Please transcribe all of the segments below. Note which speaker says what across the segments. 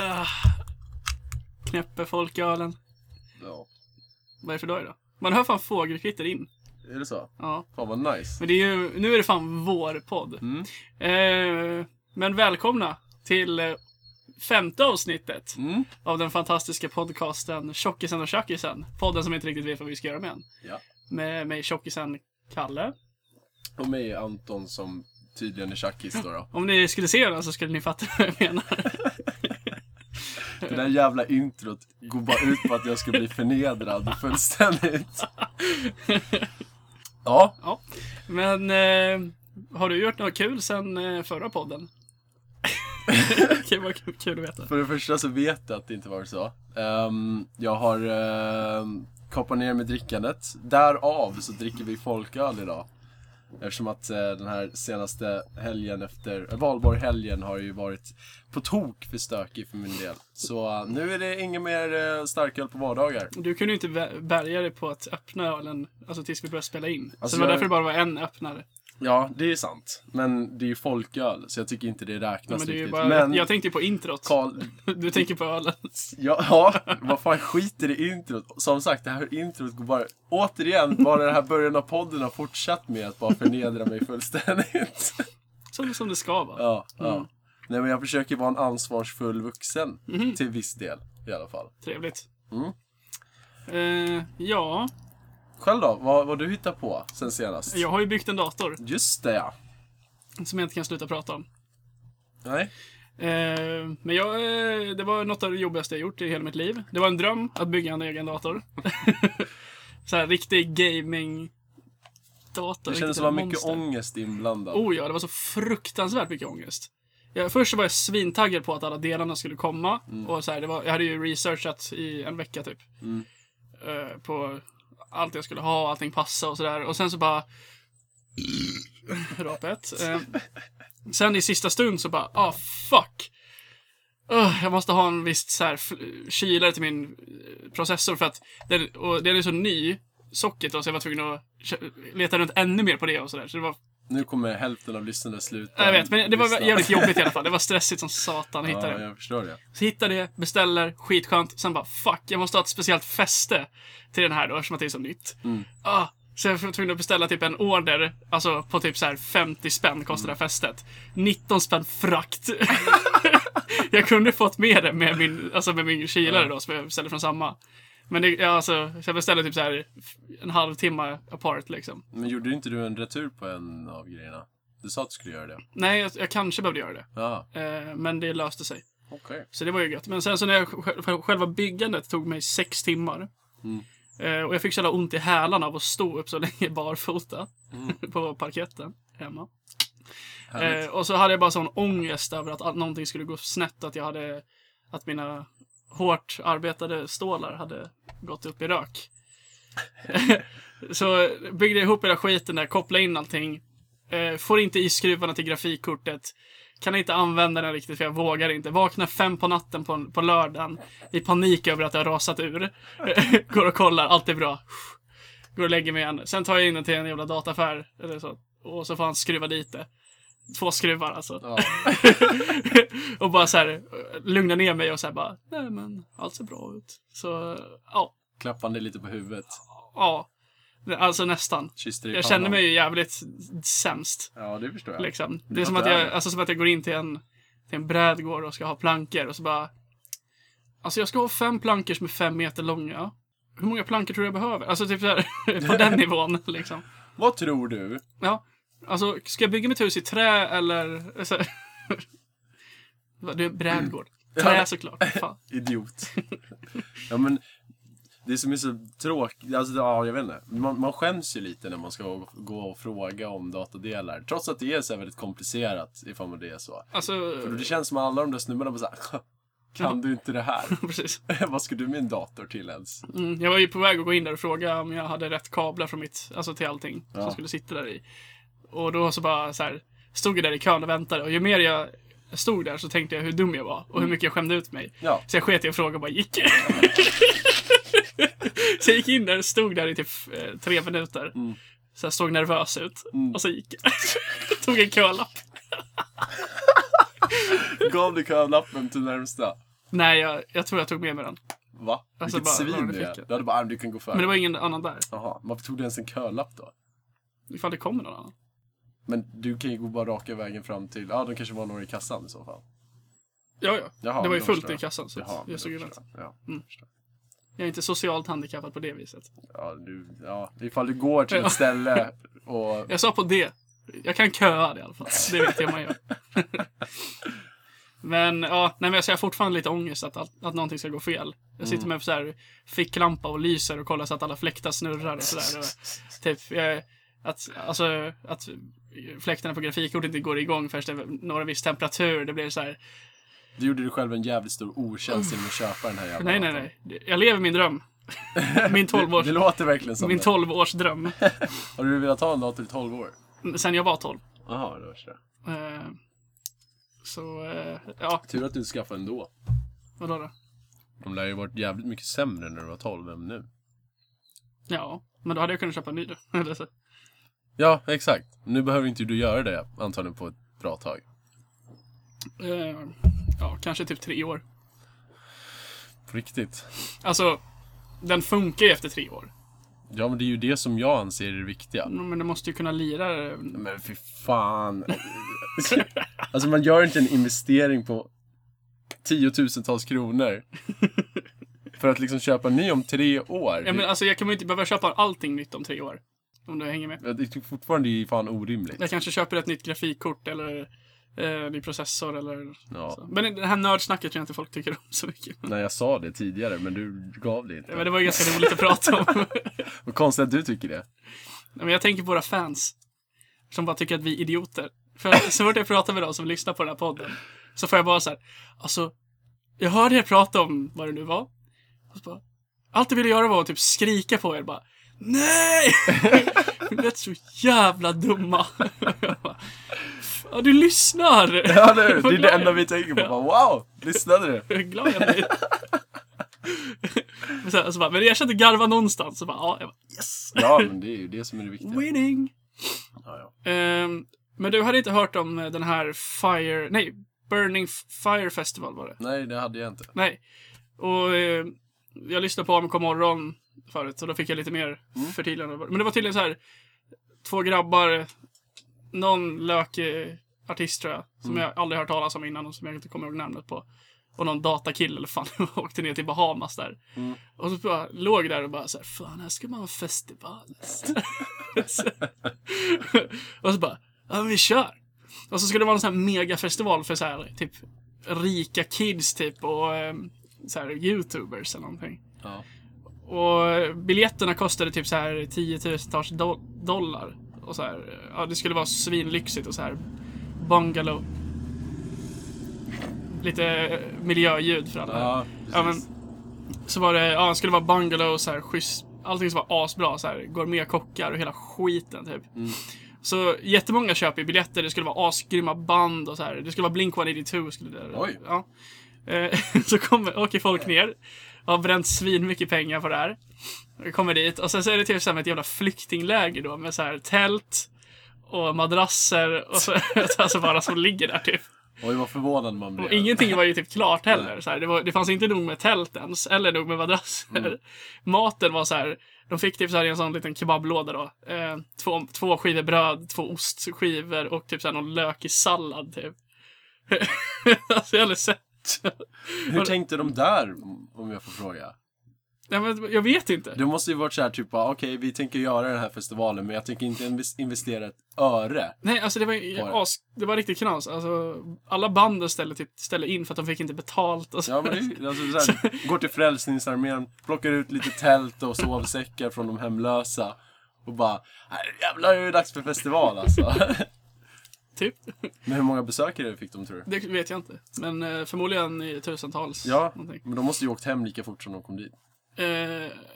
Speaker 1: Ah. Knäpper folk i ölen.
Speaker 2: Ja.
Speaker 1: Vad är det för dag idag? Man hör fan fågelkvitter in.
Speaker 2: Är det så?
Speaker 1: Ja.
Speaker 2: Fan vad nice.
Speaker 1: Men det är ju, nu är det fan vår podd.
Speaker 2: Mm.
Speaker 1: Eh, men välkomna till eh, femte avsnittet
Speaker 2: Mm.
Speaker 1: av den fantastiska podcasten Tjockisen och Tjackisen. Podden som inte riktigt vet vad vi ska göra med än.
Speaker 2: Ja.
Speaker 1: Med mig Tjockisen Kalle.
Speaker 2: Och mig Anton som tydligen är tjackis då. då.
Speaker 1: Om ni skulle se den så skulle ni fatta vad jag menar.
Speaker 2: Det där jävla introt går bara ut på att jag ska bli förnedrad fullständigt. Ja,
Speaker 1: Men eh, har du gjort något kul sen eh, förra podden? det kan vara kul- kul att veta.
Speaker 2: för det första så vet jag att det inte var så. Ehm, jag har um, kapat ner med drickandet. Därav så dricker vi folköl idag. Eftersom att eh, den här senaste helgen efter, äh, valborg-helgen har ju varit på tok för stökig för min del. Så eh, nu är det ingen mer eh, starköl på vardagar.
Speaker 1: Du kunde ju inte vä- bärga dig på att öppna ölen alltså tills vi började spela in. så
Speaker 2: Alltså,
Speaker 1: det var
Speaker 2: jag-
Speaker 1: därför det bara var en öppnare.
Speaker 2: Ja, det är ju sant. Men det är ju folköl, så jag tycker inte det
Speaker 1: Men,
Speaker 2: räknas
Speaker 1: det är ju
Speaker 2: riktigt.
Speaker 1: bara,
Speaker 2: men
Speaker 1: Jag tänkte ju på introt.
Speaker 2: Karl,
Speaker 1: Du tänker på ölen.
Speaker 2: ja, ja, vad fan skiter i introt? Som sagt, det här introt går bara... Återigen, bara den här början av podden har fortsatt med att bara förnedra mig fullständigt.
Speaker 1: Som, som det ska vara.
Speaker 2: ja, ja.
Speaker 1: Mm.
Speaker 2: Nej, men jag försöker vara en ansvarsfull vuxen.
Speaker 1: Mm-hmm.
Speaker 2: Till viss del, i alla fall.
Speaker 1: Trevligt.
Speaker 2: Mm.
Speaker 1: Eh, ja,
Speaker 2: Själv då? Vad vad du hittat på sen senast?
Speaker 1: jag har ju byggt en dator
Speaker 2: Just det, ja.
Speaker 1: som jag inte kan sluta prata om.
Speaker 2: Nej.
Speaker 1: Eh, men jag, eh, det var något av det jobbigaste jag gjort i hela mitt liv. Det var en dröm att bygga en egen dator. så här riktig gaming-dator.
Speaker 2: Det
Speaker 1: riktigt
Speaker 2: kändes som att det var mycket
Speaker 1: monster.
Speaker 2: ångest inblandad.
Speaker 1: Oh ja, det var så fruktansvärt mycket ångest. Jag, först så var jag svintaggad på att alla delarna skulle komma. Och så här, det var, jag hade ju researchat i en vecka typ.
Speaker 2: Mm.
Speaker 1: Eh, på allt jag skulle ha, allting passa och sådär. Och sen så bara... Rapet. Eh, sen i sista stund så bara, ah fuck. Ugh, jag måste ha en viss så här, fl- kylare till min eh, processor för att den, och den är så ny, socket då, så jag var tvungen att kö- leta runt ännu mer på det och sådär. Så det var
Speaker 2: Nu kommer hälften av lyssnarna sluta.
Speaker 1: Ja, Jag vet, men det var
Speaker 2: lyssna.
Speaker 1: jävligt jobbigt i alla fall. Det var stressigt som satan att hitta
Speaker 2: Ja,
Speaker 1: det.
Speaker 2: jag förstår det.
Speaker 1: Så hittar det, beställer, skitskönt. Sen bara fuck, jag måste ha ett speciellt fäste till den här då eftersom att det är så nytt.
Speaker 2: Mm.
Speaker 1: Ah, så jag var tvungen att beställa typ en order, alltså på typ så här 50 spänn kostar
Speaker 2: Mm.
Speaker 1: det här fästet. 19 spänn frakt. jag kunde fått med det med min, alltså med min kylare då som jag beställde från samma. Men det, ja, alltså, så jag beställde typ så här en halvtimme apart liksom.
Speaker 2: Men gjorde inte du en retur på en av grejerna? Du sa att du skulle göra det.
Speaker 1: Nej, jag, jag kanske behövde göra det.
Speaker 2: Ja,
Speaker 1: Eh, men det löste sig.
Speaker 2: okej.
Speaker 1: Så det var ju gött. Men sen så när jag, sj- själva byggandet tog mig sex timmar.
Speaker 2: Mm.
Speaker 1: Eh, och jag fick så jävla ont i hälarna av att stå upp så länge barfota
Speaker 2: Mm.
Speaker 1: på parketten hemma. Eh,
Speaker 2: Härligt.
Speaker 1: och så hade jag bara sån ångest över att all- någonting skulle gå snett. Att jag hade, att mina hårt arbetade stålar hade gått upp i rök. så byggde jag ihop hela skiten där, kopplade in allting. Eh, får inte i skruvarna till grafikkortet. Kan inte använda den riktigt för jag vågar inte. Vaknar fem på natten på, på lördagen i panik över att jag har rasat ur. Går och kollar, allt är bra. Går och lägger mig igen. Sen tar jag in den till en jävla dataaffär eller så. Och så får han skruva dit det. Två skruvar alltså.
Speaker 2: Ja.
Speaker 1: och bara så här lugna ner mig och så här bara, nej men allt ser bra ut. Så ja,
Speaker 2: Klappande lite på huvudet.
Speaker 1: ja. Alltså nästan.
Speaker 2: Kysste dig i
Speaker 1: Jag
Speaker 2: pannan.
Speaker 1: känner mig ju jävligt sämst.
Speaker 2: Ja, det förstår jag.
Speaker 1: Liksom. Det
Speaker 2: Ja,
Speaker 1: är som att
Speaker 2: det är
Speaker 1: jag,
Speaker 2: det.
Speaker 1: alltså, som att jag går in till en, till en brädgård och ska ha plankor och så bara... Alltså jag ska ha fem plankor som är fem meter långa. Hur många plankor tror du jag behöver? Alltså typ såhär, på den nivån liksom.
Speaker 2: Vad tror du?
Speaker 1: Ja. Alltså, ska jag bygga mitt hus i trä eller... alltså, Vad, Det är en brädgård.
Speaker 2: Mm.
Speaker 1: Trä såklart. Fan.
Speaker 2: Idiot. ja, men det som är så tråkigt, alltså ja, jag vet inte. Man, man skäms ju lite när man ska gå- gå och fråga om datadelar. Trots att det är så här väldigt komplicerat ifall man det är så.
Speaker 1: Alltså...
Speaker 2: För det känns som att alla de där snubbarna bara såhär, kan du inte det här?
Speaker 1: Precis.
Speaker 2: Vad ska du med en dator till ens?
Speaker 1: Mm, jag var ju på väg att gå in där och fråga om jag hade rätt kablar från mitt, alltså till allting
Speaker 2: Ja.
Speaker 1: som skulle sitta där i. Och då så bara så här, stod jag där i kön och väntade och ju mer jag stod där så tänkte jag hur dum jag var och hur mycket jag skämde ut mig.
Speaker 2: Mm. Ja.
Speaker 1: Så jag sket i att fråga och bara gick. så jag gick in där och stod där i typ eh, tre minuter.
Speaker 2: Mm.
Speaker 1: Så jag såg nervös ut. Och så gick jag. Tog en kölapp.
Speaker 2: Gav du kölappen till närmsta?
Speaker 1: Nej, jag, jag tror jag tog med mig den.
Speaker 2: Va?
Speaker 1: Alltså,
Speaker 2: Vilket
Speaker 1: bara- bara
Speaker 2: svin
Speaker 1: det
Speaker 2: du är.
Speaker 1: fick jag.
Speaker 2: Du hade bara, "Ah, du kan gå före.
Speaker 1: Men det var ingen annan där.
Speaker 2: Jaha, varför tog du ens en kölapp då?
Speaker 1: Ifall det kommer någon annan.
Speaker 2: Men du kan ju gå bara raka vägen fram till, ja de kanske var några i kassan i så fall.
Speaker 1: Ja, ja.
Speaker 2: Jaha,
Speaker 1: det var
Speaker 2: men
Speaker 1: ju
Speaker 2: då
Speaker 1: fullt
Speaker 2: förstår
Speaker 1: i
Speaker 2: jag.
Speaker 1: kassan, så
Speaker 2: Jaha,
Speaker 1: att
Speaker 2: men
Speaker 1: jag
Speaker 2: då
Speaker 1: stod ju
Speaker 2: förstår
Speaker 1: rätt.
Speaker 2: jag. Ja,
Speaker 1: Mm.
Speaker 2: förstår.
Speaker 1: Jag är inte socialt handikappad på det viset.
Speaker 2: ja, du, ja, ifall du går till
Speaker 1: Ja.
Speaker 2: ett ställe och...
Speaker 1: Jag sa på det. Jag kan köa det i alla fall. Det vet jag man gör. men ja, nej, men jag ser fortfarande lite ångest att, allt- att någonting ska gå fel. Jag
Speaker 2: Mm.
Speaker 1: sitter med så här ficklampa och lyser och kollar så att alla fläktar snurrar och sådär. Och Typ, jag, att, alltså, att fläktarna på grafikkortet inte går igång först det är några viss temperatur. Det blir så här.
Speaker 2: Du gjorde dig själv en jävligt stor otjänst genom att köpa den här jävla
Speaker 1: Nej, nej,
Speaker 2: datorn.
Speaker 1: nej. Jag lever min dröm. Min
Speaker 2: Det, det
Speaker 1: 12-års,
Speaker 2: låter verkligen som
Speaker 1: min
Speaker 2: det.
Speaker 1: 12-årsdröm.
Speaker 2: Har du velat ha en dator i 12 år?
Speaker 1: Sen jag var 12.
Speaker 2: Jaha, det var så.
Speaker 1: Eh, Så, eh, ja,
Speaker 2: Tur att du skaffade en då.
Speaker 1: vadå då?
Speaker 2: De lär ju varit jävligt mycket sämre när du var 12 än nu.
Speaker 1: Ja, men då hade jag kunnat köpa en ny då. Eller så.
Speaker 2: Ja, exakt. Nu behöver inte du göra det antagligen på ett bra tag.
Speaker 1: Eh, ja, kanske typ tre år.
Speaker 2: På riktigt.
Speaker 1: Alltså, den funkar ju efter tre år.
Speaker 2: Ja, men det är ju det som jag anser är det viktiga.
Speaker 1: Men du måste ju kunna lira. eh,
Speaker 2: Men för fan. alltså man gör inte en investering på tiotusentals kronor. För att liksom köpa en ny om tre år.
Speaker 1: Ja, men alltså, jag kommer ju inte behöva köpa allting nytt om tre år. Om du hänger med.
Speaker 2: det, det är fortfarande det är fan orimligt.
Speaker 1: Jag kanske köper ett nytt grafikkort eller eh, ny processor eller så.
Speaker 2: Ja.
Speaker 1: Men det här nördsnacket tror jag inte folk tycker om så mycket.
Speaker 2: Nej, jag sa det tidigare, men du gav det inte.
Speaker 1: Men det var ju ganska roligt att prata om.
Speaker 2: Vad konstigt att du tycker det.
Speaker 1: Nej, Men jag tänker på våra fans. Som bara tycker att vi är idioter. För så fort jag pratar med dem som lyssnar på den här podden. Så får jag bara så här. Alltså. Jag hörde er prata om vad det nu var. Och så bara, allt jag ville göra var att typ skrika på er bara. Nej! Ni lät så jävla dumma. Jag bara, Ja, du lyssnar!
Speaker 2: Ja, det är det,
Speaker 1: Vad
Speaker 2: är det
Speaker 1: glad
Speaker 2: enda
Speaker 1: jag-
Speaker 2: vi tänker på. Bara, wow, lyssnade du?
Speaker 1: Hur glad jag blir. Men sen, så bara, men jag kände garva någonstans. Så bara, ja, jag bara, yes!
Speaker 2: Ja, men det är ju det som är det viktiga.
Speaker 1: Winning!
Speaker 2: Ja, ja.
Speaker 1: Ehm, men du hade inte hört om eh, den här Fire... Nej, Burning F- Fire Festival var det.
Speaker 2: Nej, det hade jag inte.
Speaker 1: Nej. Och eh, jag lyssnade på AMK morgon förut och då fick jag lite mer förtydligande. Men det var tydligen så här två grabbar, någon lökig artist tror jag, som jag aldrig hört talas om innan och som jag inte kommer ihåg namnet på. Och någon datakille eller fan, åkte ner till Bahamas där. Och så bara, låg där och bara så här, fan här ska man ha festival. och så bara, ja men vi kör. Och så skulle det vara en sån här megafestival för så här, typ rika kids typ och ehm, så här youtubers eller någonting.
Speaker 2: Ja.
Speaker 1: Och biljetterna kostade typ så här tiotusentals do dollar. Och så här, ja det skulle vara svinlyxigt och så här bungalow. Lite eh, miljöljud för alla.
Speaker 2: Ja,
Speaker 1: Ja, men,
Speaker 2: precis.
Speaker 1: så var det, ja, det skulle vara bungalow och så här schysst. Allting som var asbra, så här gourmetkockar och hela skiten typ.
Speaker 2: Mm.
Speaker 1: Så jättemånga köper ju biljetter, det skulle vara asgrymma band och så här. Det skulle vara Blink-182 skulle det
Speaker 2: Oj.
Speaker 1: Ja. Eh, så kommer, åker folk ner. Har bränt svin mycket pengar på det här. Kommer dit och sen så är det typ som ett jävla flyktingläger då med så här tält och madrasser och så alltså bara som ligger där typ.
Speaker 2: Oj, vad förvånad man blev.
Speaker 1: Och ingenting var ju typ klart heller. Så här, det, var, det fanns inte nog med tält ens, eller nog med madrasser.
Speaker 2: Mm.
Speaker 1: Maten var så här, de fick typ så här i en sån liten kebablåda då. Eh, två, två skivor bröd, två ostskivor och typ så här någon lök i sallad typ. alltså jag har aldrig sett.
Speaker 2: Hur tänkte de där, om jag får fråga?
Speaker 1: Nej, men jag vet inte.
Speaker 2: Det måste ju varit så här typ, bara, okej, vi tänker göra den här festivalen, men jag tänker inte inves- investera ett öre.
Speaker 1: Nej, alltså det var, ju
Speaker 2: Var det?
Speaker 1: as, det var riktigt knas. Alltså, alla banden ställde, typ, ställde in för att de fick inte betalt. Och så.
Speaker 2: Ja, men det är ju- alltså, så här, går till Frälsningsarmén, plockar ut lite tält och sovsäckar från de hemlösa. Och bara, "Nej, jävlar det är det dags för festival alltså.
Speaker 1: Typ.
Speaker 2: men hur många besökare fick de tror du?
Speaker 1: Det vet jag inte. Men eh, förmodligen i tusentals.
Speaker 2: Ja,
Speaker 1: någonting.
Speaker 2: men de måste ju ha åkt hem lika fort som de kom dit.
Speaker 1: Eh,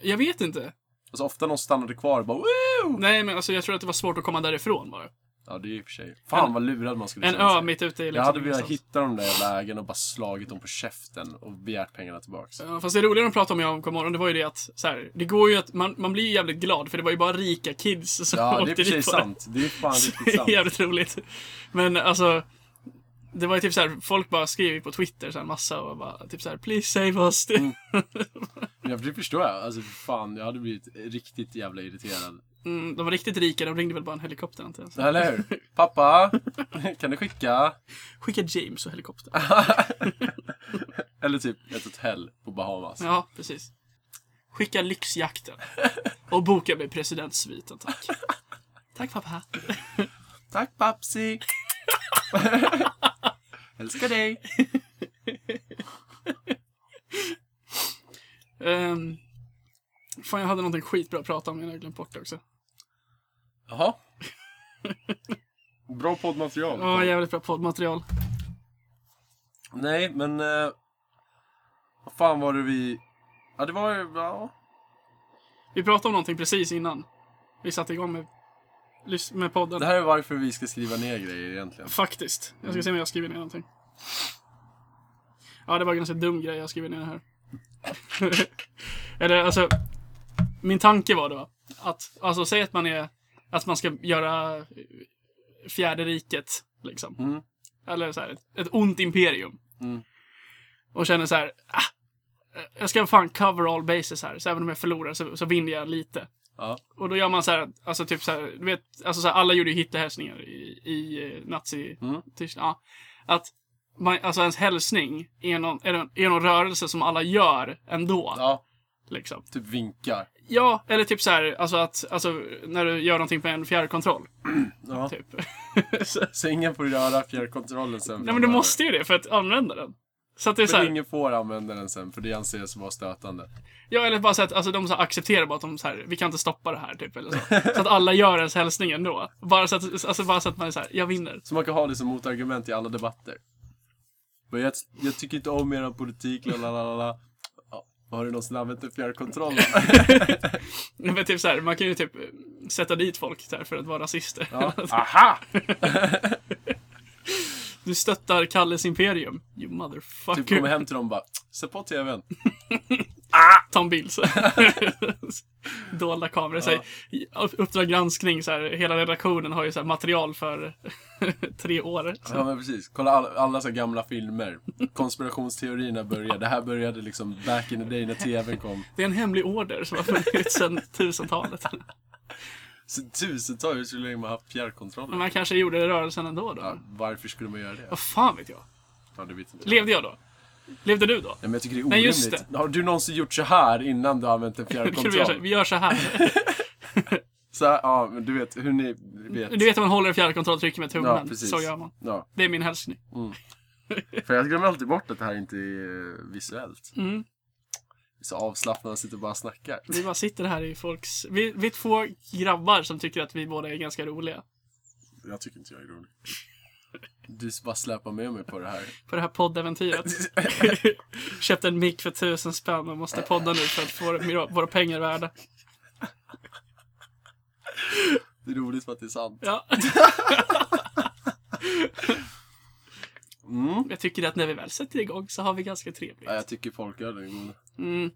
Speaker 1: jag vet inte.
Speaker 2: Alltså ofta de stannade kvar och bara Woo!
Speaker 1: Nej, men alltså jag tror att det var svårt att komma därifrån bara.
Speaker 2: Ja det är ju i och för sig. Fan
Speaker 1: En-
Speaker 2: vad lurad man skulle
Speaker 1: En
Speaker 2: känna
Speaker 1: ö
Speaker 2: sig.
Speaker 1: mitt ute i liksom
Speaker 2: Jag hade velat
Speaker 1: ingenstans.
Speaker 2: hitta de där jävla ägarna och bara slagit dem på käften och begärt pengarna tillbaks.
Speaker 1: Ja, Fast det roliga de pratade om i AMK morgon, det var ju det att så här, det går ju att, man, man blir ju jävligt glad för det var ju bara rika kids som
Speaker 2: Ja det är i
Speaker 1: åkte
Speaker 2: och för sig
Speaker 1: dit på det.
Speaker 2: sant. Det är fan
Speaker 1: Så
Speaker 2: riktigt
Speaker 1: Det är
Speaker 2: sant.
Speaker 1: jävligt roligt. Men alltså, det var ju typ så här, folk bara skrev på Twitter så här massa och bara typ så här “Please save us”.
Speaker 2: Mm. Men jag det förstår jag. Alltså fan, jag hade blivit riktigt jävla irriterad.
Speaker 1: Mm, de var riktigt rika, de ringde väl bara en helikopter antar jag. Så.
Speaker 2: Eller hur? Pappa, kan du skicka?
Speaker 1: Skicka James och helikopter.
Speaker 2: Ah. Eller typ ett hotell på Bahamas.
Speaker 1: Ja, precis. Skicka lyxjakten. Och boka mig presidentsviten, tack. Tack pappa.
Speaker 2: Tack papsi! Älskar dig!
Speaker 1: Um, fan, jag hade någonting skitbra att prata om, men jag har glömt bort det också.
Speaker 2: Jaha. Bra poddmaterial.
Speaker 1: Ja, jävligt bra poddmaterial.
Speaker 2: Nej, men... eh, vad fan var det vi... Ja, det var ju... Ja.
Speaker 1: Vi pratade om någonting precis innan vi satte igång med, lys- med podden.
Speaker 2: Det här är varför vi ska skriva ner grejer egentligen.
Speaker 1: Faktiskt. Jag
Speaker 2: Mm.
Speaker 1: ska se om jag skriver ner någonting. Ja, det var en ganska dum grej jag skriver ner här. Eller alltså, min tanke var då att, alltså säg att man är, att man ska göra eh, fjärde riket, liksom.
Speaker 2: Mm.
Speaker 1: Eller så här, ett, ett ont imperium.
Speaker 2: Mm.
Speaker 1: Och känner så här, ah, jag ska fan cover all bases här, så även om jag förlorar så, så vinner jag lite.
Speaker 2: Ja.
Speaker 1: Och då gör man så här, alltså typ så här, du vet, alltså så här, alla gjorde ju Hitlerhälsningar i, i eh, nazi
Speaker 2: Mm.
Speaker 1: Tyskland. Ja. Att man, alltså ens hälsning är någon, är, någon, är någon rörelse som alla gör ändå.
Speaker 2: ja,
Speaker 1: Liksom.
Speaker 2: typ vinkar.
Speaker 1: Ja, eller typ så här, alltså att, alltså när du gör någonting på en fjärrkontroll.
Speaker 2: Ja.
Speaker 1: Typ.
Speaker 2: Så ingen får röra fjärrkontrollen sen.
Speaker 1: Nej men du måste ju det för att använda den. Så att det är så
Speaker 2: Men
Speaker 1: här,
Speaker 2: ingen får använda den sen, för det anses vara stötande.
Speaker 1: ja eller bara så att alltså, de så här accepterar bara att de så här, vi kan inte stoppa det här typ eller så. Så att alla gör ens hälsning ändå. Bara så att, alltså bara så att man är så här, jag vinner.
Speaker 2: Så man kan ha det som motargument i alla debatter. Men jag, jag tycker inte om er politik, lalalala. Ja, har du någonsin använt en fjärrkontroll? då?
Speaker 1: Nej, Men typ så här, man kan ju typ eh, sätta dit folk så här, för att vara rasister.
Speaker 2: Ja. Aha!
Speaker 1: Du stöttar Kalles Imperium. You
Speaker 2: Typ
Speaker 1: motherfucker.
Speaker 2: kommer hem till dem och bara, sätt på tvn.
Speaker 1: Ta en bild så Dolda kameror. Så här, i- Uppdrag granskning, så här, hela redaktionen har ju så här, material för tre år.
Speaker 2: Ja men precis, kolla alla, alla så här gamla filmer. Konspirationsteorierna började, det här började liksom back in the day när tvn kom.
Speaker 1: Det är en hemlig order som har funnits sedan 1000-talet.
Speaker 2: Så tusentals, hur länge man har haft fjärrkontroller.
Speaker 1: Men man kanske gjorde rörelsen ändå då.
Speaker 2: Ja, varför skulle man göra det?
Speaker 1: Vad fan vet jag?
Speaker 2: Ja, det vet inte jag.
Speaker 1: Levde jag då? Levde du då?
Speaker 2: Nej, men jag tycker det är
Speaker 1: Nej, just
Speaker 2: orimligt. Har du någonsin gjort så här innan du har använt en
Speaker 1: Vi gör, så,
Speaker 2: fjärrkontroll?
Speaker 1: vi gör så här.
Speaker 2: Så här, ja, men du vet hur ni vet.
Speaker 1: Du vet hur man håller en fjärrkontroll och trycker med
Speaker 2: ja,
Speaker 1: tummen.
Speaker 2: precis.
Speaker 1: så gör man.
Speaker 2: Ja.
Speaker 1: Det är min hälsning.
Speaker 2: För jag glömmer alltid bort att det här inte är eh, visuellt.
Speaker 1: Mm.
Speaker 2: Så avslappnade och sitter och bara snackar.
Speaker 1: Vi bara sitter här i folks... Vi, vi är två grabbar som tycker att vi båda är ganska roliga.
Speaker 2: Jag tycker inte jag är rolig. Du bara släpar med mig på det här.
Speaker 1: På det här poddäventyret. Köpte en mick för tusen spänn och måste podda nu för att få våra- våra pengar värda.
Speaker 2: Det är roligt för att det är sant.
Speaker 1: Ja.
Speaker 2: Mm.
Speaker 1: Jag tycker att när vi väl sätter igång så har vi ganska trevligt.
Speaker 2: Ja, jag tycker folköl är god.
Speaker 1: Mm.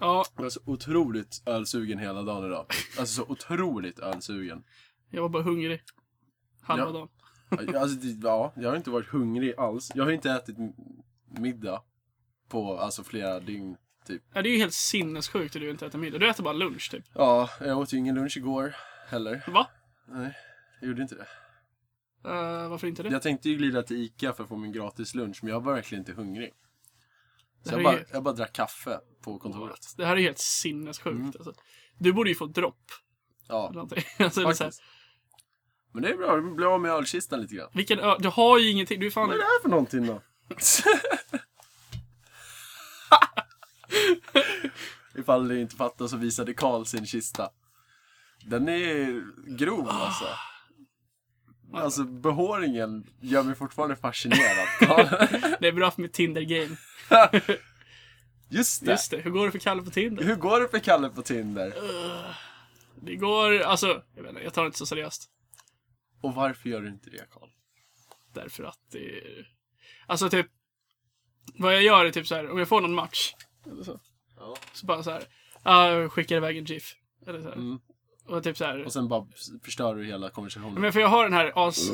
Speaker 1: Ja,
Speaker 2: Jag är så otroligt ölsugen hela dagen idag. Alltså så otroligt ölsugen.
Speaker 1: jag var bara hungrig. Halva
Speaker 2: Ja.
Speaker 1: dagen.
Speaker 2: Alltså, det, ja, jag har inte varit hungrig alls. Jag har inte ätit m- middag på alltså flera dygn, typ.
Speaker 1: Ja, det är ju helt sinnessjukt att du inte äter middag. Du äter bara lunch typ.
Speaker 2: Ja, jag åt ju ingen lunch igår heller.
Speaker 1: Va?
Speaker 2: Nej, jag gjorde inte det.
Speaker 1: Eh, varför inte det?
Speaker 2: Jag tänkte ju glida till ICA för att få min gratis lunch, men jag var verkligen inte hungrig.
Speaker 1: Det
Speaker 2: Så
Speaker 1: här
Speaker 2: jag
Speaker 1: är
Speaker 2: bara,
Speaker 1: ju-
Speaker 2: jag bara drack kaffe på kontoret.
Speaker 1: Det här är helt sinnessjukt
Speaker 2: Mm.
Speaker 1: alltså. Du borde ju få dropp.
Speaker 2: Ja,
Speaker 1: eller någonting. Alltså, det är så här,
Speaker 2: faktiskt. Men det är bra, vi blir av med ölkistan lite grann.
Speaker 1: vilken ö... Du har ju ingenting. Du är fan...
Speaker 2: Vad är det här för någonting då? Ifall ni inte fattar så visade Karl sin kista. Den är grov alltså. Alltså behåringen gör mig fortfarande fascinerad.
Speaker 1: Det är bra för mitt Tinder-game.
Speaker 2: Just det.
Speaker 1: Just det, hur går det för Kalle på Tinder?
Speaker 2: Hur går det för Kalle på Tinder?
Speaker 1: Det går, alltså, jag vet inte, jag tar det inte så seriöst.
Speaker 2: Och varför gör du inte det Karl?
Speaker 1: Därför att det är... Alltså typ, vad jag gör är typ så här, om jag får någon match, eller så,
Speaker 2: Ja.
Speaker 1: så bara så här, ah, jag skickar iväg en GIF. Eller så här.
Speaker 2: Mm.
Speaker 1: Och typ så här.
Speaker 2: Och sen bara förstör du hela
Speaker 1: Ja,
Speaker 2: konversationen.
Speaker 1: Men för jag har den här as...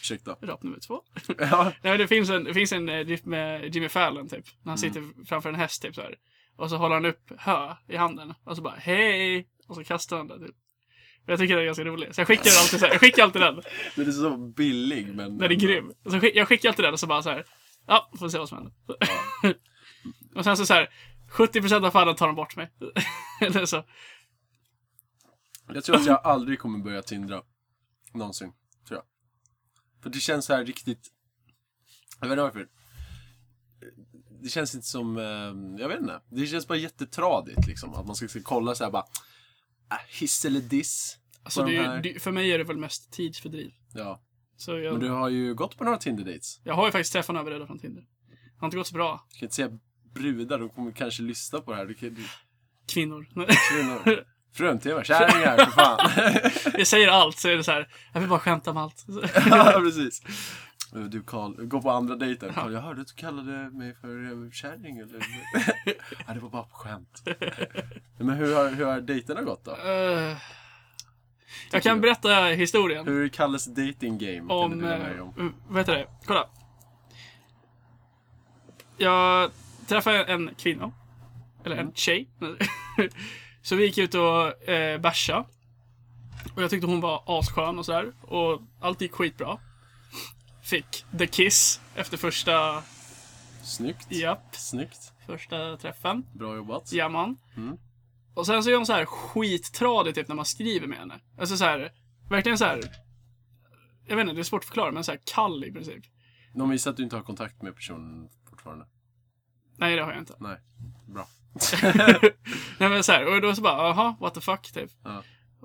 Speaker 2: Ursäkta.
Speaker 1: Rap nummer två.
Speaker 2: Ja,
Speaker 1: Nej, men det finns en, det finns en eh, riff med Jimmy Fallon typ. När han
Speaker 2: Mm.
Speaker 1: sitter framför en häst typ så här. Och så håller han upp hö i handen. Och så bara hej! Och så kastar han den typ. Jag tycker den är ganska rolig. Så jag skickar den alltid så här. Jag skickar alltid den.
Speaker 2: den är så billig men...
Speaker 1: Den är grym. Så skick, jag skickar alltid den och så bara så här. Ja, får se vad som händer. och sen så så här. 70% av fallen tar de bort mig. Eller så.
Speaker 2: Jag tror att jag aldrig kommer börja tindra. Någonsin. Tror jag. För det känns så här riktigt... Jag vet inte varför. Det känns inte som... eh, Jag vet inte. Det känns bara jättetradigt liksom. Att man ska, ska kolla så här bara... ah, Hiss eller diss.
Speaker 1: Alltså,
Speaker 2: på
Speaker 1: det
Speaker 2: de
Speaker 1: är, ju-
Speaker 2: här.
Speaker 1: det, för mig är det väl mest tidsfördriv.
Speaker 2: Ja.
Speaker 1: Så jag,
Speaker 2: Men du har ju gått på några Tinder-dates.
Speaker 1: jag har ju faktiskt Stefan överredda från Tinder. Det har inte gått så bra.
Speaker 2: Du kan inte säga brudar, de kommer kanske lyssna på det här. Du kan, du,
Speaker 1: Kvinnor.
Speaker 2: kvinnor. Frun-tv, kärringar för fan.
Speaker 1: Jag säger allt så är det så här. Jag vill bara skämta om allt.
Speaker 2: ja, precis. Eh, Du Karl, gå på andra dejten. Karl, jag hörde att du kallade mig för eh, kärring eller? ja, det var bara på skämt. Men hur har, hur har dejterna gått då?
Speaker 1: Eh, jag kan berätta historien
Speaker 2: Hur är Kalles dating game? kan du
Speaker 1: om...
Speaker 2: dela med dig om?
Speaker 1: Uh, vad heter det? Kolla. Jag träffade en kvinna. Eller
Speaker 2: Mm.
Speaker 1: en tjej. så vi gick ut och eh, bärsa. Och jag tyckte hon var asskön och sådär. Och allt gick skitbra. Fick the kiss efter första...
Speaker 2: Snyggt.
Speaker 1: Japp.
Speaker 2: Snyggt.
Speaker 1: Första träffen.
Speaker 2: Bra jobbat.
Speaker 1: Ja, man. Och sen så är hon så här skittradig typ när man skriver med henne. Alltså så här, verkligen så här. Jag vet inte, det är svårt att förklara, men så här kall i princip.
Speaker 2: De visar att du inte har kontakt med personen fortfarande.
Speaker 1: Nej, det har jag inte.
Speaker 2: Nej. Bra.
Speaker 1: Nej, men så här, och då så bara, aha, what the fuck, typ.
Speaker 2: Ja.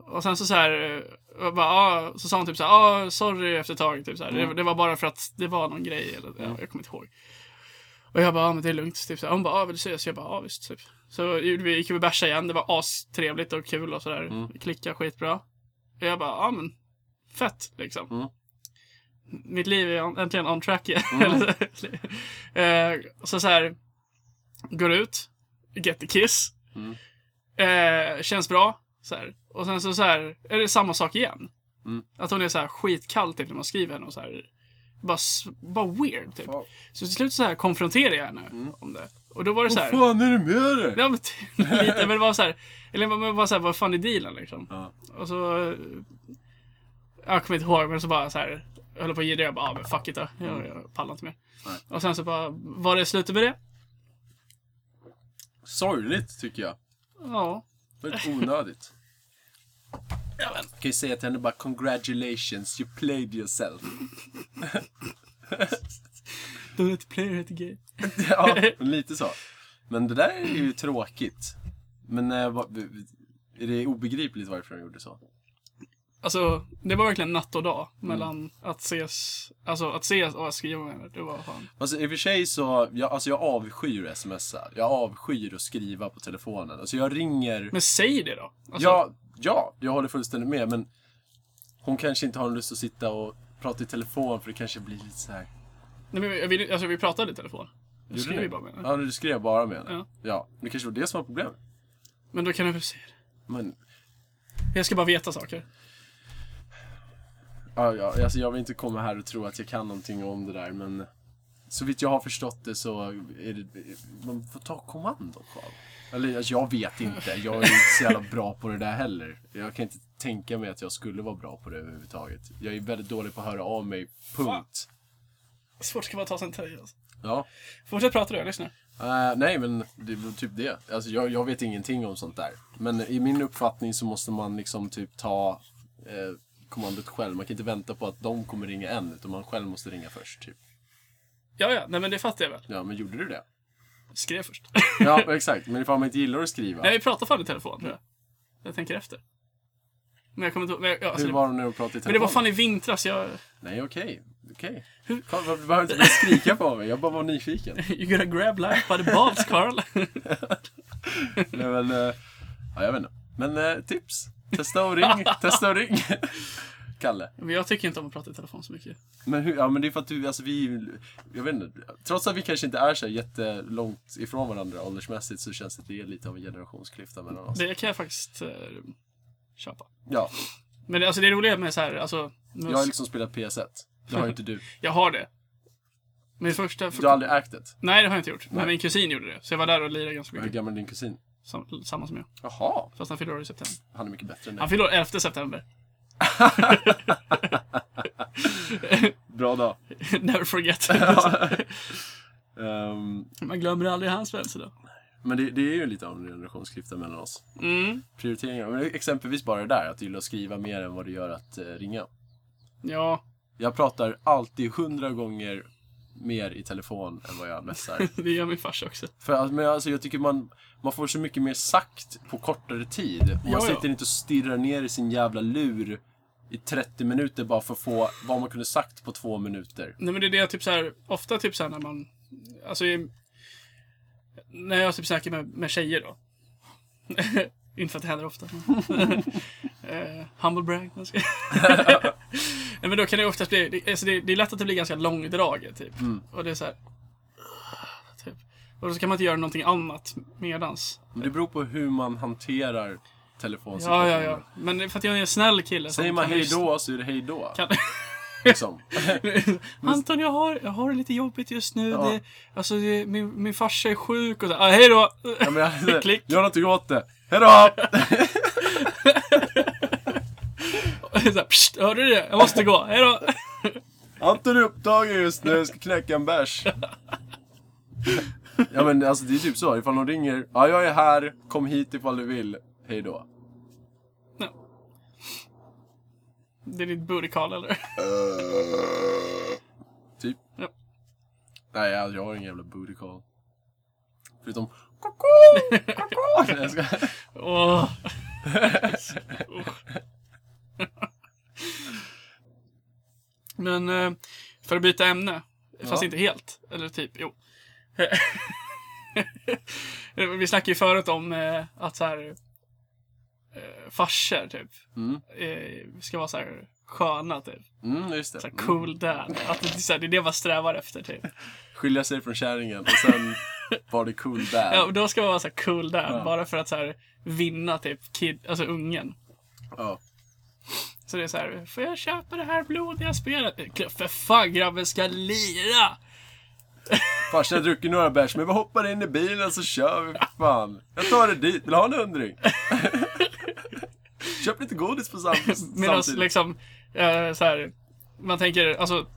Speaker 1: Och sen så så här, eh, jag bara, ah, så sa hon typ så här, ah, sorry efter ett tag, typ så här. Det, det var bara för att det var någon grej, eller ja, jag kommer inte ihåg. Och jag bara, ah, men det är lugnt, typ så här. Hon bara, ah, vill du ses? Jag bara, ah, visst, typ. Så gjorde vi gick vi och bärsade igen, det var astrevligt och kul och sådär. Mm. Klicka skitbra. Och jag bara, ah, men fett, liksom.
Speaker 2: Mm.
Speaker 1: Mitt liv är on- äntligen on track igen. Eh, så så här, går ut, get the kiss.
Speaker 2: Mm.
Speaker 1: Eh, känns bra. Så här. Och sen så, så här, är det samma sak igen.
Speaker 2: Mm.
Speaker 1: Att hon är så här skitkall typ när man skriver henne och så här. Bara, s- bara weird typ.
Speaker 2: Fan.
Speaker 1: Så till slut så här konfronterar jag henne om det. Och då var det så
Speaker 2: Mm.
Speaker 1: här.
Speaker 2: Vad fan är det med dig?
Speaker 1: Ja, men typ lite, men det var så här. Eller men bara så här, vad fan är dealen liksom?
Speaker 2: Ja.
Speaker 1: Och så... eh, Jag kommer inte ihåg, men så bara så här. Jag höll på att ge det. Jag bara, ah, men fuck it då. Jag, jag pallar inte mer.
Speaker 2: Mm. Nej.
Speaker 1: Och sen så bara, var det slutet med det?
Speaker 2: Sorgligt tycker jag.
Speaker 1: Ja.
Speaker 2: Väldigt onödigt.
Speaker 1: Ja, men.
Speaker 2: Jag kan ju säga till henne bara congratulations, you played yourself.
Speaker 1: Don't let the player hit the game.
Speaker 2: ja, lite så. Men det där är ju tråkigt. Men eh, vad- v- v- är det obegripligt varför de gjorde så?
Speaker 1: Alltså, det var verkligen natt och dag mellan
Speaker 2: Mm.
Speaker 1: att ses, alltså att ses och att skriva med henne. Det var fan.
Speaker 2: Alltså i och för sig så, jag, alltså jag avskyr att smsa. Jag avskyr att skriva på telefonen. Alltså jag ringer...
Speaker 1: Men säg det då! Alltså,
Speaker 2: Ja, ja, jag håller fullständigt med men hon kanske inte har lust att sitta och prata i telefon för det kanske blir lite så här.
Speaker 1: nej, men vi- vi, alltså vi pratade i telefon. Jag
Speaker 2: Gjorde
Speaker 1: skrev
Speaker 2: ni?
Speaker 1: ju bara med henne.
Speaker 2: Ja, du skrev bara med henne.
Speaker 1: Ja.
Speaker 2: Ja. ja. Det kanske var det som var problemet.
Speaker 1: Men då kan du väl säga det.
Speaker 2: Men
Speaker 1: Jag ska bara veta saker.
Speaker 2: Ja, ja, alltså jag vill inte komma här och tro att jag kan någonting om det där, men så vitt jag har förstått det så är det, man får ta kommando Carl. Eller alltså, jag vet inte, jag är inte så jävla bra på det där heller. Jag kan inte tänka mig att jag skulle vara bra på det överhuvudtaget. Jag är väldigt dålig på att höra av mig, punkt.
Speaker 1: Svårt ska bara ta sig en töj alltså.
Speaker 2: Ja.
Speaker 1: Fortsätt prata du, jag lyssnar.
Speaker 2: Eh, nej, men det är väl typ det. Alltså, jag, jag vet ingenting om sånt där. Men i min uppfattning så måste man liksom typ ta eh, kommandot själv. Man kan inte vänta på att de kommer ringa en, utan man själv måste ringa först. Typ.
Speaker 1: Ja, ja, nej men det fattar jag väl.
Speaker 2: Ja, men gjorde du det?
Speaker 1: Skrev först.
Speaker 2: Ja, exakt. Men ifall man inte gillar att skriva.
Speaker 1: nej, vi pratade fan i telefon tror jag. Jag tänker efter. Men jag kommer inte ihåg- men, jag- ja, alltså,
Speaker 2: Hur
Speaker 1: det,
Speaker 2: var det när du pratade i telefon?
Speaker 1: men det var fan i vintras jag...
Speaker 2: Nej, okej. Okej. Carl, varför- Du behöver inte börja skrika på mig. Jag bara var nyfiken.
Speaker 1: You gotta grab life by the balls, Carl.
Speaker 2: Nej, men... eh, Ja, jag vet inte. Men eh, tips. Testa och ring. Testa och ring. Kalle.
Speaker 1: Men jag tycker inte om att prata i telefon så mycket.
Speaker 2: Men hur, ja men det är för att du, alltså vi, jag vet inte. Trots att vi kanske inte är så här jättelångt ifrån varandra åldersmässigt så känns det att det är lite av en generationsklyfta mellan oss.
Speaker 1: Det kan jag faktiskt eh, köpa.
Speaker 2: Ja,
Speaker 1: Men det, alltså, det roliga med så här, alltså, mus-
Speaker 2: jag har liksom spelat PS1. Det har ju inte du.
Speaker 1: jag har det. Min första...
Speaker 2: Du har aldrig ägt det.
Speaker 1: Nej, det har jag inte gjort. Men
Speaker 2: Nej.
Speaker 1: min kusin gjorde det. Så jag var där och lirade ganska
Speaker 2: Hur
Speaker 1: mycket.
Speaker 2: gammal är din kusin?
Speaker 1: Sam, samma som jag.
Speaker 2: Jaha,
Speaker 1: Fast han fyller år i september.
Speaker 2: han är mycket bättre än dig.
Speaker 1: Han fyller år 11 september.
Speaker 2: Bra dag.
Speaker 1: Never forget.
Speaker 2: Ehm,
Speaker 1: Man glömmer aldrig hans födelsedag.
Speaker 2: men det, det är ju lite av en generationsklyfta mellan oss.
Speaker 1: Mm.
Speaker 2: Prioriteringar. Men exempelvis bara det där, att du gillar att skriva mer än vad du gör att eh, ringa.
Speaker 1: Ja,
Speaker 2: Jag pratar alltid hundra gånger mer i telefon än vad jag messar.
Speaker 1: det gör min farsa också.
Speaker 2: För att- men alltså, jag tycker man, man får så mycket mer sagt på kortare tid. Man
Speaker 1: Ja, ja.
Speaker 2: sitter inte och stirrar ner i sin jävla lur i 30 minuter bara för att få vad man kunde sagt på två minuter.
Speaker 1: Nej men det är det jag typ så här, ofta typ så här när man, alltså i, när jag typ snackar med, med tjejer då. Inte för att det händer ofta. uh, humble brag. jag ska- Nej men då kan det oftast bli, det, alltså det, det är lätt att det blir ganska långdraget typ. Och det är så här. Typ. Och så kan man inte göra någonting annat medans.
Speaker 2: Men det beror på hur man hanterar
Speaker 1: Ja,
Speaker 2: telefonsituationen.
Speaker 1: ja, ja. Men det är för att jag är en snäll kille. som
Speaker 2: Säger man
Speaker 1: kan
Speaker 2: hej
Speaker 1: lyssna.
Speaker 2: då så är det hej då.
Speaker 1: Kan-
Speaker 2: Liksom.
Speaker 1: Anton, jag har, jag har det lite jobbigt just nu.
Speaker 2: Ja.
Speaker 1: Det, alltså, det, min, min farsa är sjuk och så. Ah, hej då!
Speaker 2: Ja, men jag,
Speaker 1: Klick.
Speaker 2: Gör någonting åt det. Hej då!
Speaker 1: Och så här, Psst, hörde du det? Jag måste gå. Hej då!
Speaker 2: Anton är upptagen just nu, ska knäcka en bärs. Ja men alltså det är typ så, ifall någon ringer, ja jag är här, kom hit ifall du vill, hej då.
Speaker 1: Nej. Det är ditt burkal eller?
Speaker 2: Typ.
Speaker 1: Ja.
Speaker 2: Nej jag, jag har ingen jävla booty call. Förutom koko, koko. Nej, jag ska-
Speaker 1: Åh. Men eh, för att byta ämne, fast
Speaker 2: Ja.
Speaker 1: inte helt, eller typ, jo. Vi snackade ju förut om eh, att så här, eh, farsor typ,
Speaker 2: Mm.
Speaker 1: eh, ska vara så här sköna typ.
Speaker 2: Mm, just
Speaker 1: Så här
Speaker 2: det.
Speaker 1: cool dad. Att det, är så här, det är det man strävar efter typ.
Speaker 2: Skilja sig från kärringen och sen var det cool där.
Speaker 1: Ja, och då ska man vara så här cool dad,
Speaker 2: Ja.
Speaker 1: bara för att så här, vinna typ kid, alltså ungen.
Speaker 2: Ja.
Speaker 1: Så det är så här, får jag köpa det här blodiga spelet? Eh, För fan grabben ska lira!
Speaker 2: Farsan har druckit några bärs, men vi hoppar in i bilen så kör vi för fan. Jag tar det dit, vill du ha en hundring? Köp lite godis på sam-
Speaker 1: Medan
Speaker 2: samtidigt.
Speaker 1: liksom, eh, så här, man tänker, alltså,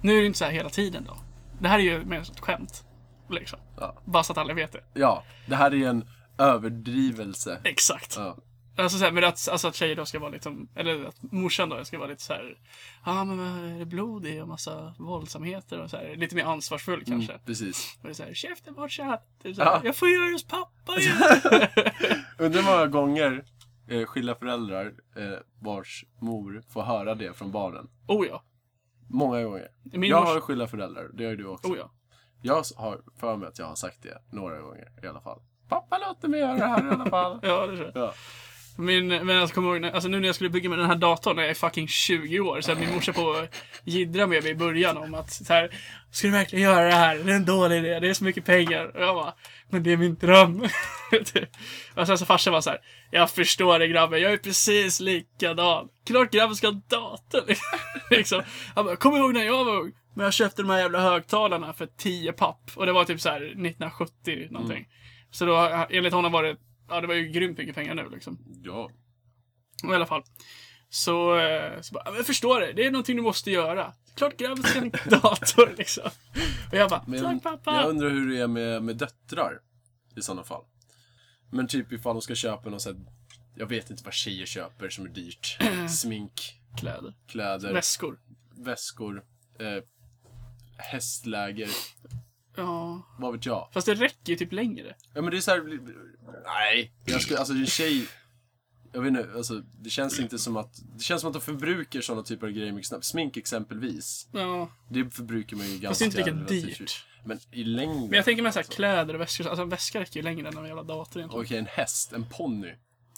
Speaker 1: nu är det ju inte så här hela tiden då. Det här är ju mer ett skämt. Liksom.
Speaker 2: Ja.
Speaker 1: Bara så att alla vet det.
Speaker 2: Ja, det här är en överdrivelse.
Speaker 1: Exakt.
Speaker 2: Ja.
Speaker 1: Alltså så här, men att, alltså att tjejer då ska vara liksom, eller att morsan då ska vara lite så här, ja ah, men vad är det blod i och massa våldsamheter och så här, lite mer ansvarsfull kanske.
Speaker 2: Precis.
Speaker 1: Och det är så här, käften morsan! Typ så här,
Speaker 2: Mm. Ja.
Speaker 1: Jag får göra det hos pappa ju!
Speaker 2: Undrar hur många gånger eh, skilda föräldrar eh, vars mor får höra det från barnen.
Speaker 1: oh ja.
Speaker 2: Många gånger.
Speaker 1: Min
Speaker 2: jag
Speaker 1: mors-
Speaker 2: har skilda föräldrar, det har du också.
Speaker 1: Oh ja.
Speaker 2: Jag har för mig att jag har sagt det några gånger i alla fall. Pappa låter mig göra det här i alla fall.
Speaker 1: Ja, det tror jag.
Speaker 2: Ja.
Speaker 1: Min, men alltså, kommer ihåg, när- alltså, nu när jag skulle bygga med den här datorn när jag är fucking 20 år, så här, min morsa på att jiddra med mig i början om att så här, ska du verkligen göra det här? Det är en dålig idé, det är så mycket pengar. Och jag bara, men det är min dröm. Typ. och sen så farsan var så här, jag förstår det grabben, jag är precis likadan. Klart grabben ska ha en dator. liksom. Han bara, kom ihåg när jag var ung. Men jag köpte de här jävla högtalarna för 10 papp. Och det var typ så här 1970 någonting. Så då, enligt honom var det, ja det var ju grymt mycket pengar nu liksom.
Speaker 2: Ja.
Speaker 1: Och I alla fall. Så, eh, så bara, "Ja, men jag förstår det. Det är någonting du måste göra. Klart grabben ska ha en dator liksom. Och jag bara,
Speaker 2: Men
Speaker 1: tack pappa.
Speaker 2: jag undrar hur det är med, med döttrar i sådana fall. Men typ ifall de ska köpa någon sån här, jag vet inte vad tjejer köper som är dyrt. Smink,
Speaker 1: Kläder.
Speaker 2: kläder,
Speaker 1: Väskor.
Speaker 2: väskor, eh, hästläger,
Speaker 1: Ja.
Speaker 2: vad vet jag.
Speaker 1: Fast det räcker ju typ längre.
Speaker 2: Ja men det är såhär, nej. Jag skulle, alltså en tjej, jag vet inte, alltså det känns inte som att, det känns som att de förbrukar sådana typer av grejer mycket snabbt. Smink exempelvis,
Speaker 1: Ja.
Speaker 2: det förbrukar man ju ganska
Speaker 1: Fast det är inte lika
Speaker 2: relativt-
Speaker 1: dyrt.
Speaker 2: Men i längden.
Speaker 1: Men jag tänker mig såhär kläder och väskor. Alltså en väska räcker ju längre än en jävla dator egentligen.
Speaker 2: Okej, en häst, en ponny.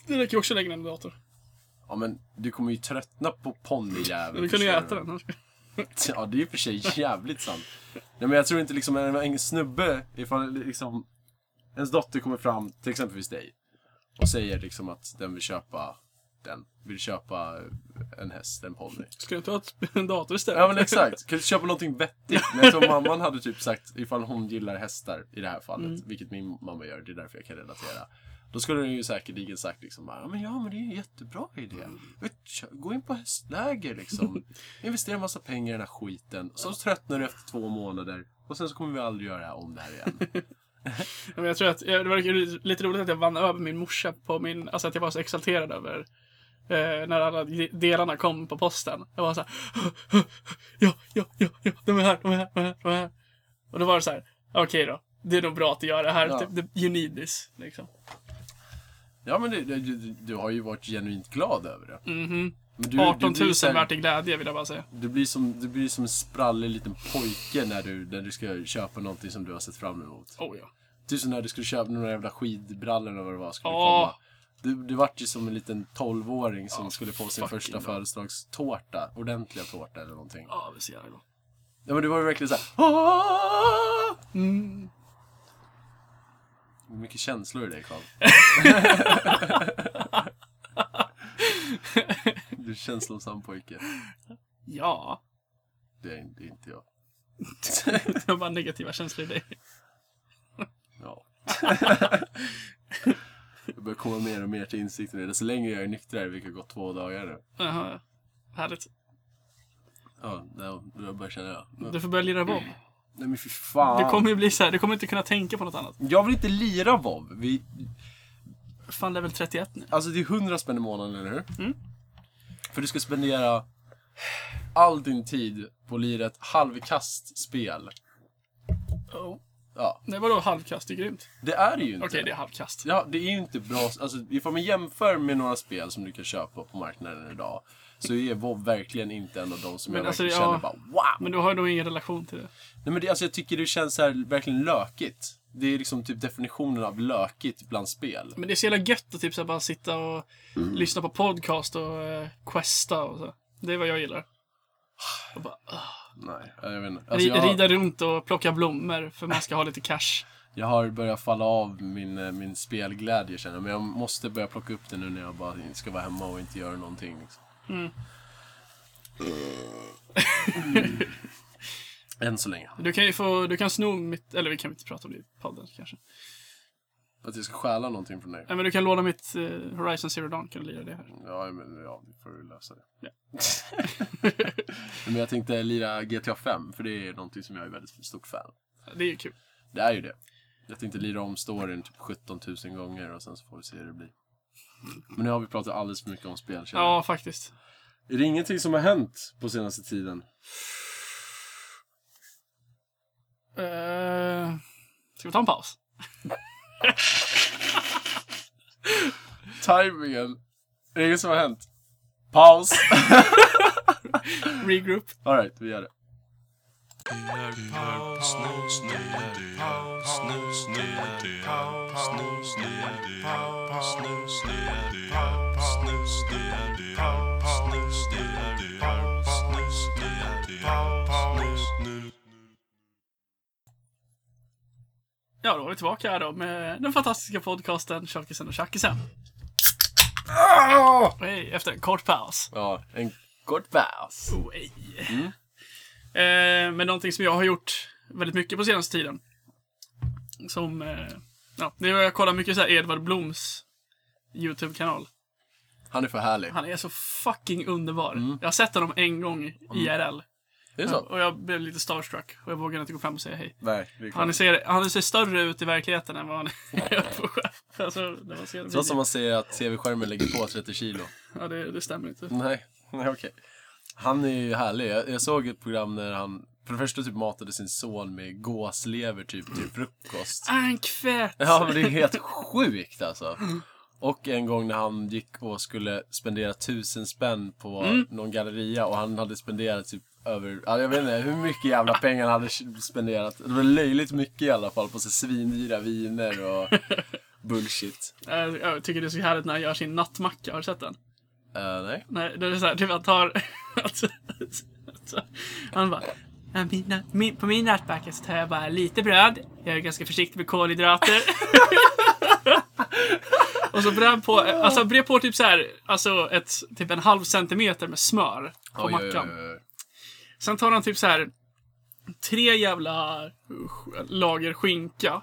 Speaker 1: Det räcker ju också längre än en dator.
Speaker 2: Ja men du kommer ju tröttna på ponnyjäveln.
Speaker 1: Du kunde ju
Speaker 2: förstår
Speaker 1: äta den.
Speaker 2: Ja, det är ju för sig jävligt sant. Nej, men jag tror inte liksom en, en snubbe, ifall liksom ens dotter kommer fram, till exempelvis dig, och säger liksom att den vill köpa den. Vill köpa en häst, en ponny.
Speaker 1: Ska du inte ha ett- en dator istället?
Speaker 2: Ja men exakt, kan du köpa någonting vettigt? Men jag tror mamman hade typ sagt, ifall hon gillar hästar i det här fallet, vilket min mamma gör, det är därför jag kan relatera. Då skulle hon ju säkerligen sagt liksom bara, ja men ja men det är ju en jättebra idé. Vet, kö- Gå in på hästläger liksom. Investera massa pengar i den här skiten. Så tröttnar du efter två månader. Och sen så kommer vi aldrig göra om det här igen.
Speaker 1: Ja, Men jag tror att, ja, det var lite roligt att jag vann över min morsa på min, alltså att jag var så exalterad över eh, när alla de- delarna kom på posten. Jag var så här, ja, ja, ja, ja, de är här, de är här, de är här, de är här. Och då var det så här, okej då, det är nog bra att du gör det här,
Speaker 2: Ja.
Speaker 1: typ, det- you need this, liksom.
Speaker 2: Ja men du, du, du, du har ju varit genuint glad över det.
Speaker 1: Mhm.
Speaker 2: Men du,
Speaker 1: 18
Speaker 2: blir
Speaker 1: 000
Speaker 2: så här-
Speaker 1: värt i glädje vill jag bara säga.
Speaker 2: Du blir som, du blir som en sprallig liten pojke när du, när du ska köpa någonting som du har sett fram emot.
Speaker 1: Oh ja.
Speaker 2: Typ som när du skulle köpa några jävla skidbrallor eller vad det var skulle
Speaker 1: Ja.
Speaker 2: komma. Du, du vart ju som en liten tolvåring som
Speaker 1: Ja,
Speaker 2: skulle få sin
Speaker 1: fucking
Speaker 2: första
Speaker 1: bra.
Speaker 2: födelsedagstårta. Ordentliga tårta eller någonting.
Speaker 1: Ja, det ser jag då.
Speaker 2: Ja men det var ju verkligen såhär "Aah!"
Speaker 1: Mm.
Speaker 2: Mycket känslor i dig Karl. du är en känslosam pojke.
Speaker 1: Ja,
Speaker 2: Det är, det är inte jag.
Speaker 1: det var bara negativa känslor i dig.
Speaker 2: Ja. jag börjar komma mer och mer till insikt om det. Desto längre jag är nyktrare, vilket har gått två dagar nu.
Speaker 1: Jaha, härligt.
Speaker 2: Ja, då- då börjar jag känna det.
Speaker 1: Du får börja lira bob.
Speaker 2: Nej men fy fan.
Speaker 1: Du kommer ju bli så här, du kommer inte kunna tänka på något annat.
Speaker 2: Jag vill inte lira WoW. Vi...
Speaker 1: Fan, level 31 nu.
Speaker 2: Alltså det är 100 spänn i månaden, eller hur?
Speaker 1: Mm.
Speaker 2: För du ska spendera all din tid på att lira ett halvkast spel.
Speaker 1: Oh.
Speaker 2: Ja,
Speaker 1: Nej, vadå halvkast? Det är grymt.
Speaker 2: det är det ju inte.
Speaker 1: Okej, det är halvkast.
Speaker 2: Ja, det är ju inte bra. Alltså, ifall man jämför med några spel som du kan köpa på marknaden idag. Så är WoW verkligen inte en av de som
Speaker 1: Men
Speaker 2: jag
Speaker 1: alltså,
Speaker 2: verkligen
Speaker 1: ja.
Speaker 2: känner bara wow.
Speaker 1: Men du har ju nog ingen relation till det.
Speaker 2: Nej men det, alltså, jag tycker det känns så här verkligen lökigt. Det är liksom typ definitionen av lökigt bland spel.
Speaker 1: Men det är så jävla gött att typ så här bara sitta och
Speaker 2: Mm.
Speaker 1: lyssna på podcast och eh, questa och så. Det är vad jag gillar. Och bara, ah.
Speaker 2: Nej, jag vet inte. Alltså,
Speaker 1: Ri-
Speaker 2: jag, har-
Speaker 1: Rida runt och plocka blommor för man ska ha lite cash.
Speaker 2: jag har börjat falla av min, eh, min spelglädje känner jag. Men jag måste börja plocka upp det nu när jag bara ska vara hemma och inte göra någonting. Liksom.
Speaker 1: Mm.
Speaker 2: Än så länge.
Speaker 1: Du kan ju få, du kan sno mitt, eller vi kan inte prata om det i podden kanske.
Speaker 2: Att jag ska stjäla någonting från dig.
Speaker 1: Nej men du kan låna mitt eh, Horizon Zero Dawn, kan du lira det här.
Speaker 2: Ja, men ja, vi får ju lösa det.
Speaker 1: Ja.
Speaker 2: men jag tänkte lira GTA 5, för det är någonting som jag är väldigt stort fan.
Speaker 1: Det är ju kul.
Speaker 2: Det är ju det. Jag tänkte lira om storyn typ 17 000 gånger och sen så får vi se hur det blir. Men nu har vi pratat alldeles för mycket om spel känner jag.
Speaker 1: Ja, faktiskt.
Speaker 2: Är det ingenting som har hänt på senaste tiden?
Speaker 1: Eh, ska vi ta en paus?
Speaker 2: Timingen! Är det inget som har hänt? Paus!
Speaker 1: Regroup.
Speaker 2: Alright, vi gör det.
Speaker 1: Ja, då är vi tillbaka här då med den fantastiska podcasten Tjockisen och Tjackisen. Och Hej, efter en kort paus.
Speaker 2: Ja, en kort paus.
Speaker 1: Oh, hej. Eh, men någonting som jag har gjort väldigt mycket på senaste tiden. Som, eh, ja, det är jag kollar mycket så här Edvard Bloms YouTube-kanal.
Speaker 2: Han är för härlig.
Speaker 1: Han är så fucking underbar. Jag har sett honom en gång IRL.
Speaker 2: Är det så?
Speaker 1: Och jag blev lite starstruck och jag vågade inte gå fram och säga hej.
Speaker 2: Nej, det är
Speaker 1: Han
Speaker 2: klart.
Speaker 1: ser, han ser större ut i verkligheten än vad han är på skärmen. Alltså, när man ser
Speaker 2: Trots att
Speaker 1: videon.
Speaker 2: man säger att tv-skärmen lägger på 30 kilo.
Speaker 1: Ja, det, det stämmer inte.
Speaker 2: Nej, nej okej. Han är ju härlig. Jag, jag såg ett program när han för det första typ matade sin son med gåslever typ till frukost.
Speaker 1: Ankvätt!
Speaker 2: Ja, men det är helt sjukt alltså. Och en gång när han gick och skulle spendera tusen spänn på
Speaker 1: Mm.
Speaker 2: någon galleria och han hade spenderat typ över, ja, jag vet inte hur mycket jävla pengar han hade spenderat. Det var löjligt mycket i alla fall på så svindyra viner och bullshit.
Speaker 1: Eh, Jag tycker det är så härligt när han gör sin nattmacka. Har du sett den?
Speaker 2: Eh, nej.
Speaker 1: Nej, det är såhär, typ han tar... alltså, alltså, han bara... "Ja, Mina, min, på min nattbacka så tar jag bara lite bröd. Jag är ganska försiktig med kolhydrater. och så brer han på, alltså han brer på typ så här, alltså ett, typ en halv centimeter med smör på
Speaker 2: Oj, oj, oj,
Speaker 1: mackan.
Speaker 2: oj, oj.
Speaker 1: Sen tar han typ så här tre jävla sk- lager skinka.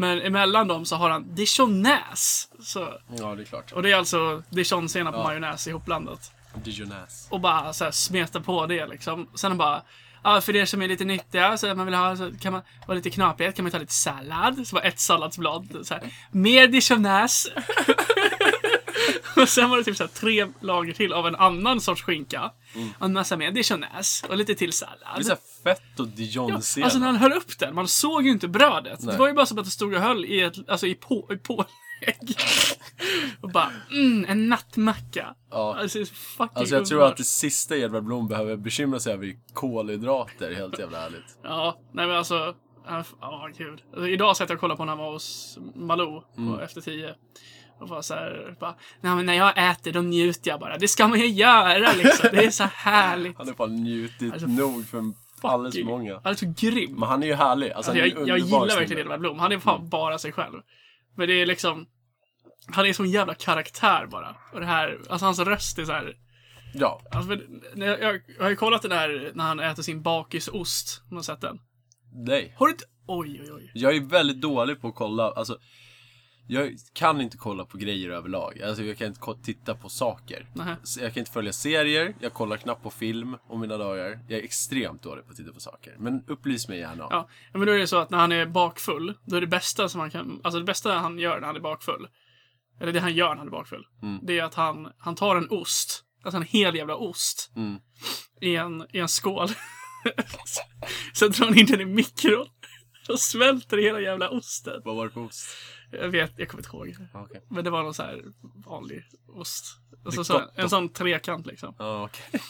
Speaker 1: Men emellan dem så har han dijonäs. Så,
Speaker 2: Ja, det är klart.
Speaker 1: och det är alltså dijonsenap och majonnäs ihopblandat
Speaker 2: Dijonäs.
Speaker 1: och bara så här smeta på det liksom. Sen bara, ja för er som är lite nyttiga så att man vill ha, så kan man vara lite knapighet kan man ta lite sallad. Så bara ett salladsblad. Så här, mer dijonäs. och sen var det typ så här tre lager till av en annan sorts skinka. Och en massa mer dijonäs och lite till
Speaker 2: Det är
Speaker 1: sallad.
Speaker 2: såhär fett och
Speaker 1: Ja,
Speaker 2: dijonsenap.
Speaker 1: alltså när han höll upp den, man såg ju inte brödet.
Speaker 2: Nej.
Speaker 1: Det var ju bara som att det stod och höll i ett, alltså i på, i pålägg. och bara, mm, en nattmacka.
Speaker 2: Ja.
Speaker 1: Alltså, det är så fucking
Speaker 2: Alltså jag tror
Speaker 1: underbart.
Speaker 2: att det sista Edvard Blom behöver bekymra sig över är kolhydrater, helt jävla ärligt.
Speaker 1: Ja, nej men alltså. Ja, f- ja, gud. Alltså, idag satt jag och kollade på när han var hos Malou på
Speaker 2: Mm.
Speaker 1: Efter tio. Och var så här, bara, nej men när jag äter då njuter jag bara. Det ska man ju göra liksom. Det är så härligt.
Speaker 2: Han har fan njutit
Speaker 1: Alltså,
Speaker 2: nog för alldeles för
Speaker 1: Gud,
Speaker 2: många.
Speaker 1: Han är så grym.
Speaker 2: Men han är ju härlig.
Speaker 1: Alltså,
Speaker 2: Alltså, han är en
Speaker 1: jag, jag
Speaker 2: underbar Mm.
Speaker 1: gillar
Speaker 2: snubbe.
Speaker 1: verkligen Edvard Blom. Han är fan bara sig själv. Men det är liksom, han är sån jävla karaktär bara. Och det här, alltså hans röst är så här.
Speaker 2: Ja.
Speaker 1: Alltså, men, när jag, jag, jag har ju kollat den här när han äter sin bakisost. Om du har sett den?
Speaker 2: Nej.
Speaker 1: Har du inte? Oj, oj, oj.
Speaker 2: Jag är väldigt dålig på att kolla, alltså jag kan inte kolla på grejer överlag. Alltså jag kan inte ko- titta på saker.
Speaker 1: Nähä.
Speaker 2: Så Jag kan inte följa serier, jag kollar knappt på film om mina dagar. Jag är extremt dålig på att titta på saker. Men upplys mig gärna.
Speaker 1: Ja, men då är det så att när han är bakfull, då är det bästa som han kan, alltså det bästa han gör när han är bakfull, eller det han gör när han är bakfull,
Speaker 2: Mm.
Speaker 1: det är att han, han tar en ost, alltså en hel jävla ost,
Speaker 2: Mm.
Speaker 1: i, en, i en skål. Sen drar han in den i mikron och svälter hela jävla osten.
Speaker 2: Vad var det på ost?
Speaker 1: Jag vet, jag kommer inte ihåg.
Speaker 2: Ja, Okej.
Speaker 1: Men det var någon så här vanlig ost. Alltså
Speaker 2: Det
Speaker 1: så,
Speaker 2: gott-
Speaker 1: en sån trekant liksom.
Speaker 2: Ja, Ah, okej.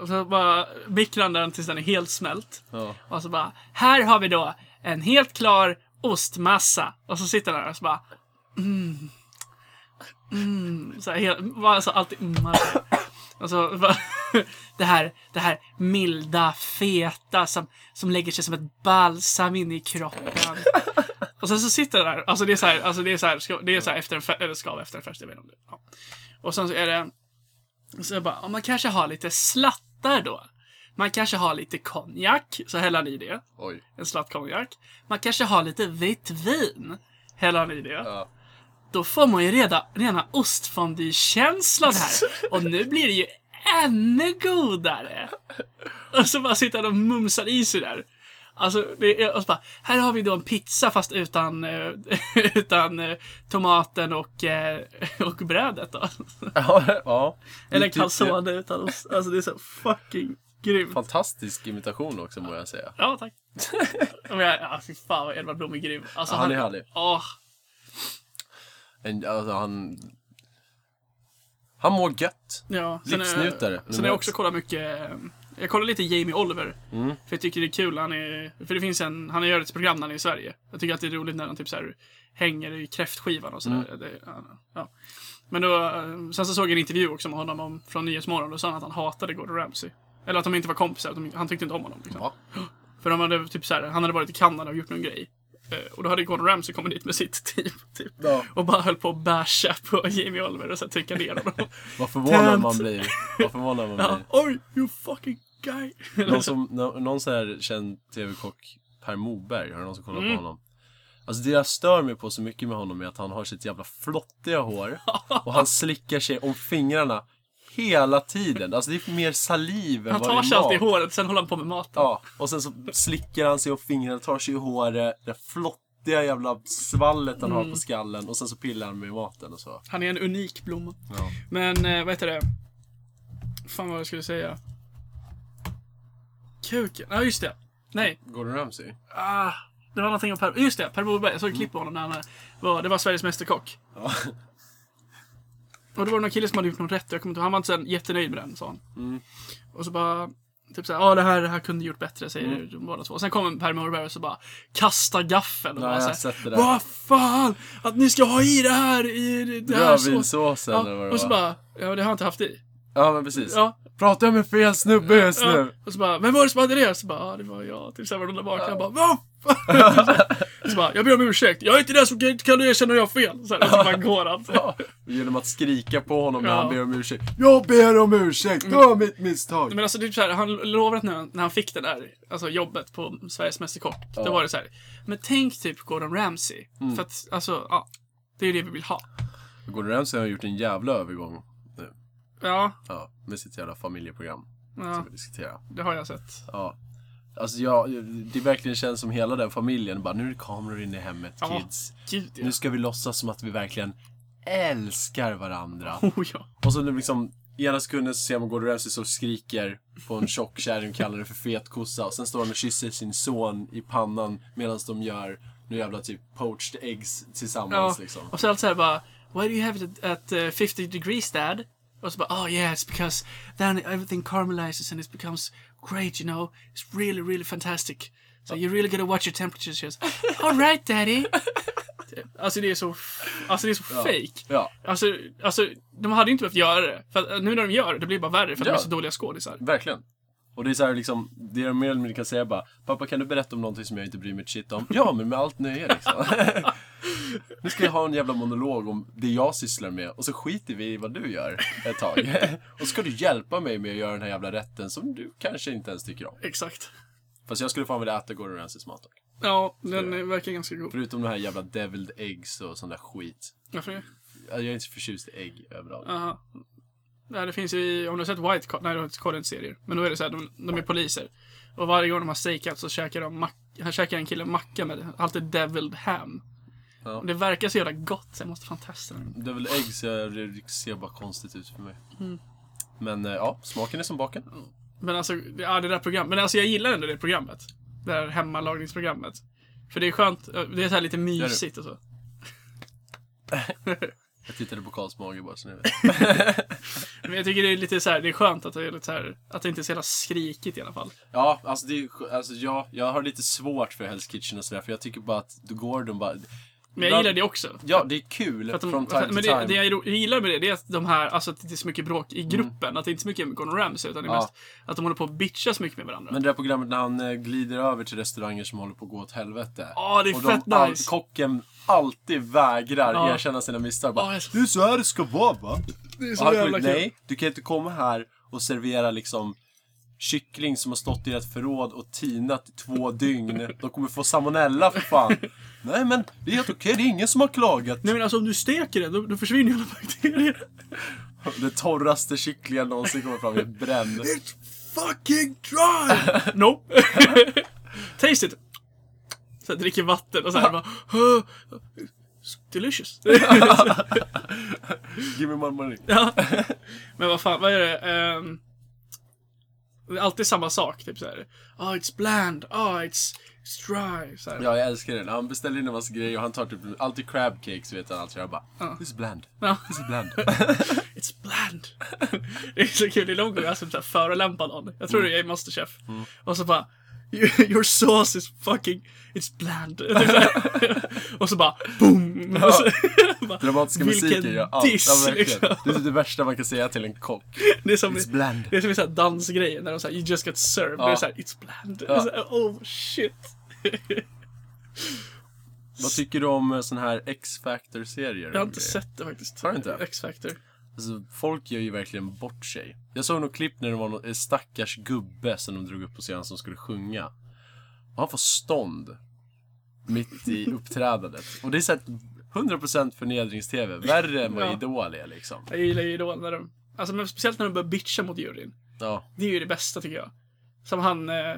Speaker 1: Och så bara mikrar den tills den är helt smält.
Speaker 2: Ja.
Speaker 1: Och så bara, här har vi då en helt klar ostmassa. Och så sitter han där och så bara, mm. Mm. Så här, helt, bara, alltså alltid mm. Alltså. Och så bara, det här, det här milda, feta som, som lägger sig som ett balsam in i kroppen. Och sen så sitter han där, alltså det är så här, alltså det är så här, ska- det är så här efter en fest, eller skav efter en fest, jag vet inte om det. Ja. Och sen så är det, så jag bara, "Ja, man kanske har lite slattar då. Man kanske har lite konjak, så häller han i det.
Speaker 2: Oj.
Speaker 1: En slatt konjak. Man kanske har lite vitt vin, häller han i det.
Speaker 2: Ja.
Speaker 1: Då får man ju reda, rena ostfondy-känslan här. Och nu blir det ju ännu godare. Och så bara sitter han och mumsar i sig där. Alltså, det är, och så bara, här har vi då en pizza fast utan, eh, utan eh, tomaten och, eh, och brödet då.
Speaker 2: Ja, ja.
Speaker 1: Eller
Speaker 2: Vilket-
Speaker 1: calzone utan ost. Alltså det är så fucking grymt.
Speaker 2: Fantastisk imitation också må jag säga.
Speaker 1: Ja, tack. Men jag, ja, fy fan vad Edvard Blom är grym. Alltså,
Speaker 2: Ja, han är härlig.
Speaker 1: Åh,
Speaker 2: En, alltså han... Han mår gött.
Speaker 1: ja.
Speaker 2: Blixtsnutare,
Speaker 1: Sen,
Speaker 2: nummer
Speaker 1: är- sen har jag
Speaker 2: ett. Mm.
Speaker 1: också kollat mycket... eh, Jag kollar lite Jamie Oliver. För jag tycker det är kul. Han är, för det finns en... Han gör ett program när han är i Sverige. Jag tycker att det är roligt när han typ så här hänger i kräftskivan och
Speaker 2: Mm.
Speaker 1: sådär. Det, ja. Men då... eh, Sen så såg jag en intervju också med honom om, från Nyhetsmorgon. Då sa han att han hatade Gordon Ramsay. Eller att de inte var kompisar. Att de, han tyckte inte om honom. Liksom.
Speaker 2: Va?
Speaker 1: För de hade typ så här, han hade varit i Kanada och gjort någon grej. Eh, Och då hade Gordon Ramsay kommit dit med sitt team. Typ.
Speaker 2: Ja.
Speaker 1: Och bara höll på att basha på Jamie Oliver och så här trycka ner honom.
Speaker 2: Vad förvånad
Speaker 1: Tänt.
Speaker 2: man blir. Vad förvånad man
Speaker 1: Ja,
Speaker 2: blir.
Speaker 1: Oj, you fucking guy!
Speaker 2: Någon, som, nå- någon sån här känd TV-kock, Per Moberg, har du någon som
Speaker 1: Mm.
Speaker 2: kollat på honom? Alltså det jag stör mig på så mycket med honom är att han har sitt jävla flottiga hår och han slickar sig om fingrarna hela tiden. Alltså det är mer saliv än
Speaker 1: Han
Speaker 2: vad det är
Speaker 1: tar sig alltid i
Speaker 2: mat.
Speaker 1: håret, sen håller han på med maten.
Speaker 2: Ja, och sen så slickar han sig om fingrarna, tar sig i håret, det flottiga jävla svallet han
Speaker 1: Mm.
Speaker 2: har på skallen och sen så pillar han med maten och så.
Speaker 1: Han är en unik blomma.
Speaker 2: Ja.
Speaker 1: Men eh, vad heter det? Fan vad jag skulle säga. Kuken. Ja, just det. Nej.
Speaker 2: Gordon Ramsay?
Speaker 1: Ah, det var någonting om Per. Just det, Per Morberg. Jag såg ett klipp på honom när han eh, var, det var Sveriges Mästerkock.
Speaker 2: Ja. Mm.
Speaker 1: Och då var det någon kille som hade gjort någon rätt. Jag kommer inte ihåg. Han var inte så jättenöjd med den, sa han. Och så bara... Typ såhär, ja det här, det här kunde gjort bättre, säger
Speaker 2: Mm.
Speaker 1: de båda två. Sen kommer Per Morberg och så bara kastar gaffeln och
Speaker 2: Ja,
Speaker 1: bara
Speaker 2: jag har
Speaker 1: såhär,
Speaker 2: sett det där.
Speaker 1: Vad fan! Att ni ska ha i det här i det här såsen!
Speaker 2: Rödvinssåsen eller
Speaker 1: Ja,
Speaker 2: vad det
Speaker 1: och så
Speaker 2: var.
Speaker 1: bara, ja det har jag inte haft i.
Speaker 2: Ja men precis.
Speaker 1: Ja,
Speaker 2: Pratar jag med fel snubbe just
Speaker 1: ja.
Speaker 2: nu?
Speaker 1: Och så bara, vem var det som hade det? Så bara, ja det var jag. Typ såhär var de där vakna. Jag bara, vad fan? Så bara, jag ber om ursäkt. Jag är inte den som kan, kan du erkänna att jag har fel. Så, här, och så bara går han.
Speaker 2: Ja, genom att skrika på honom när
Speaker 1: Ja. Mm.
Speaker 2: han ber om ursäkt. Jag ber om ursäkt, det var mitt misstag.
Speaker 1: Men alltså det är så här, han lovade att när han, när han fick det där alltså jobbet på Sveriges Mästerkock, då
Speaker 2: Ja. Mm.
Speaker 1: var det så här. Men tänk typ Gordon Ramsay. För att, alltså, ja. Det är ju det vi vill ha.
Speaker 2: Gordon Ramsay har gjort en jävla övergång nu.
Speaker 1: Ja,
Speaker 2: Ja, med sitt jävla familjeprogram
Speaker 1: ja
Speaker 2: som vi diskuterar.
Speaker 1: det har jag sett.
Speaker 2: Ja. Alltså jag, det verkligen känns som hela den familjen bara nu är det kameror inne i hemmet
Speaker 1: Ja.
Speaker 2: kids.
Speaker 1: Gud ja.
Speaker 2: Nu ska vi låtsas som att vi verkligen älskar varandra.
Speaker 1: Oh, ja.
Speaker 2: Och så nu liksom, i ena sekunden så ser man Gordon Ramsay som skriker på en tjock kärring och kallar det för fet kossa. Och sen står han och kysser sin son i pannan medan de gör nu jävla typ poached eggs tillsammans
Speaker 1: Ja.
Speaker 2: liksom.
Speaker 1: Och så allt så här bara, why do you have it at, at uh, 50 degrees dad? Och så bara, oh yeah, it's because then everything caramelizes and it becomes great, you know. It's really, really fantastic. So you really gotta watch your temperatures. Just, All right daddy. Alltså det är så, alltså det är så fake.
Speaker 2: Ja,
Speaker 1: Alltså, alltså, de hade ju inte behövt göra det. För att, eh, nu när de gör det, det blir bara värre för att de
Speaker 2: Ja.
Speaker 1: är så dåliga skådisar.
Speaker 2: verkligen. Och det är så här liksom, det de mer eller mindre kan säga är bara Pappa kan du berätta om någonting som jag inte bryr mig ett shit om? Ja, men med allt nöje liksom. nu ska jag ha en jävla monolog om det jag sysslar med och så skiter vi i vad du gör ett tag. och så ska du hjälpa mig med att göra den här jävla rätten som du kanske inte ens tycker om.
Speaker 1: Exakt.
Speaker 2: Fast jag skulle fan vilja äta Gordon Ramsays mat dock.
Speaker 1: Ja, den eh, verkar ganska god.
Speaker 2: Förutom de här jävla deviled eggs och sån där skit.
Speaker 1: Varför det?
Speaker 2: Jag är inte så förtjust i ägg överallt.
Speaker 1: Aha. Nej, det finns ju i, om du har sett White Card, nej du har inte kollat serier. Men då är det så här, de, de är poliser. Och varje gång de har strejkat så käkar de mack, han käkar en kille macka med alltid deviled ham.
Speaker 2: Ja.
Speaker 1: Och det verkar så jävla gott så jag måste fan testa den.
Speaker 2: Deviled eggs eh, det ser bara konstigt ut för mig. Men eh, ja, smaken är som baken.
Speaker 1: Men alltså, det, ja, det där programmet. Men alltså jag gillar ändå det programmet. Det här hemmalagningsprogrammet. För det är skönt, det är så här lite mysigt och så.
Speaker 2: Jag tittade på Karls mage bara så ni vet.
Speaker 1: Men jag tycker det är lite så här, det är skönt att det är lite så här, att det inte är så jävla skrikigt i alla fall.
Speaker 2: Ja, alltså, det, är sk- alltså ja, jag har lite svårt för Hell's Kitchen och sådär för jag tycker bara att Gordon bara...
Speaker 1: Men jag gillar det också.
Speaker 2: Ja, det är kul
Speaker 1: För att de,
Speaker 2: från time
Speaker 1: men
Speaker 2: to
Speaker 1: det,
Speaker 2: time. Mm.
Speaker 1: det jag ro- gillar med det, det är att de här, alltså att det är så mycket bråk i gruppen. Att det inte är så mycket med Gordon Ramsay, utan det är
Speaker 2: Ja.
Speaker 1: mest att de håller på att bitcha så mycket med varandra.
Speaker 2: Men det där programmet när han eh, glider över till restauranger som håller på att gå åt helvete.
Speaker 1: Ja, det är
Speaker 2: och
Speaker 1: fett
Speaker 2: de, all-
Speaker 1: nice.
Speaker 2: Kocken alltid vägrar
Speaker 1: Ja.
Speaker 2: erkänna sina misstag. Bara,
Speaker 1: Ja, jag är så-
Speaker 2: det är så här det ska vara va?
Speaker 1: det är
Speaker 2: Och han kommer, Nej, du kan inte komma här och servera liksom kyckling som har stått i ett förråd och tinat i två dygn. De kommer få salmonella för fan. Nej men, det är helt okej. Det är ingen som har klagat.
Speaker 1: Nej men alltså om du steker den, då, då försvinner ju alla bakterier.
Speaker 2: Den torraste kycklingen någonsin kommer fram i ett bränd.
Speaker 1: Fucking dry! nope. Taste it. Så jag dricker vatten och så här bara... "Huh, Delicious.
Speaker 2: Give me my money.
Speaker 1: Ja. Men vad fan, vad är det? Ehm, det är alltid samma sak, typ såhär. Ah, it's bland. Ah, it's, it's dry. Så här.
Speaker 2: Ja, jag älskar den. Han beställer in en massa grejer och han tar typ alltid crab cakes vet han alltid. Jag bara, this is bland.
Speaker 1: Ja.
Speaker 2: This is bland.
Speaker 1: It's bland. det är så kul, det är någon gång jag som så här förolämpar någon. Jag
Speaker 2: Mm.
Speaker 1: tror det är i Masterchef. Och så bara "You- Your sauce is fucking... It's bland. Typ så här. och så bara boom! Och så, bara,
Speaker 2: Dramatiska
Speaker 1: vilken
Speaker 2: musiker gör allt.
Speaker 1: diss,
Speaker 2: ja, verkligen.
Speaker 1: liksom.
Speaker 2: Det är typ det värsta man kan säga till en kock.
Speaker 1: Det är som,
Speaker 2: It's bland.
Speaker 1: Det är som i så här dansgrejer när de säger You just got served. Det är såhär It's bland.
Speaker 2: Ja.
Speaker 1: Så här, oh shit.
Speaker 2: Vad tycker du om eh, sån här X-Factor-serier?
Speaker 1: Jag har inte sett det faktiskt.
Speaker 2: Har du inte?
Speaker 1: X-Factor.
Speaker 2: Alltså, folk gör ju verkligen bort sig. Jag såg något klipp när det var någon en stackars gubbe som de drog upp på scenen som skulle sjunga. Och han får stånd. Mitt i uppträdandet. Och det är såhär 100% förnedrings-TV. Värre än vad
Speaker 1: Ja.
Speaker 2: Idol är liksom.
Speaker 1: Jag gillar ju Idol när de... Alltså men speciellt när de börjar bitcha mot juryn.
Speaker 2: Ja.
Speaker 1: Det är ju det bästa tycker jag. Som han... Eh,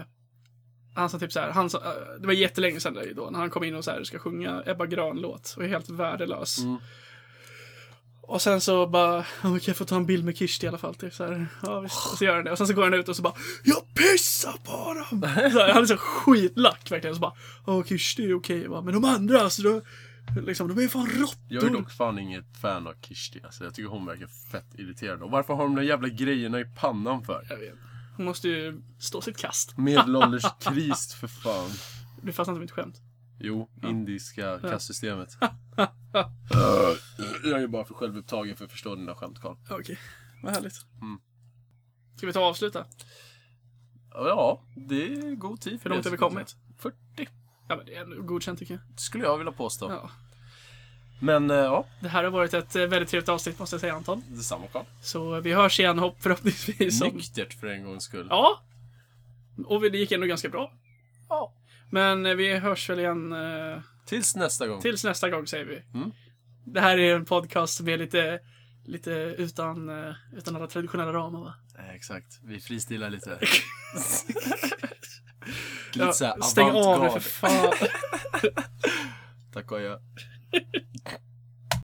Speaker 1: han sa typ så här, han sa, eh, det var jättelänge sedan det då, när han kom in och så här, ska sjunga Ebba Grön-låt och är helt värdelös. Och sen så bara, "Ja, men kan jag få ta en bild med Kirsti i alla fall? Typ så här, ja visst. Och så gör han det. Och sen så går han ut och så bara, jag pissar på dem! Så här, han är så skitlack verkligen. Och så bara, ja Kirsti är okej va, men de andra alltså, de, liksom, de är ju fan
Speaker 2: Jag är
Speaker 1: råttor.
Speaker 2: dock fan inget fan av Kirsti. Alltså, jag tycker hon verkar fett irriterande. Och varför har de de jävla grejerna i pannan för?
Speaker 1: Jag vet. Hon måste ju stå sitt kast.
Speaker 2: Medelålderskris för fan.
Speaker 1: Du fattar inte mitt skämt.
Speaker 2: Jo, indiska kastsystemet. Jag är bara för självupptagen för att förstå dina skämt, Carl.
Speaker 1: Okej, vad härligt.
Speaker 2: Mm.
Speaker 1: Ska vi ta och avsluta?
Speaker 2: Ja, det är god tid.
Speaker 1: Hur långt
Speaker 2: det,
Speaker 1: har vi
Speaker 2: skulle jag
Speaker 1: kommit?
Speaker 2: 40,
Speaker 1: Ja, men det är ändå godkänt tycker jag.
Speaker 2: skulle jag vilja påstå.
Speaker 1: Ja.
Speaker 2: Men eh, ja,
Speaker 1: Det här har varit ett eh, väldigt trevligt avsnitt måste jag säga Anton.
Speaker 2: detsamma Carl.
Speaker 1: Så vi hörs igen hopp förhoppningsvis. om-
Speaker 2: Nyktert för en gångs skull.
Speaker 1: Ja. Och vi- det gick ändå ganska bra. Ja. Men eh, vi hörs väl igen eh,
Speaker 2: Tills nästa gång.
Speaker 1: tills nästa gång säger vi.
Speaker 2: Mm.
Speaker 1: Det här är en podcast som är lite, lite utan, eh, utan alla traditionella ramar va?
Speaker 2: Eh, Exakt, vi fristilar lite. lite såhär
Speaker 1: stäng av nu för
Speaker 2: avantgarde.
Speaker 1: fan.
Speaker 2: Tack och adjö.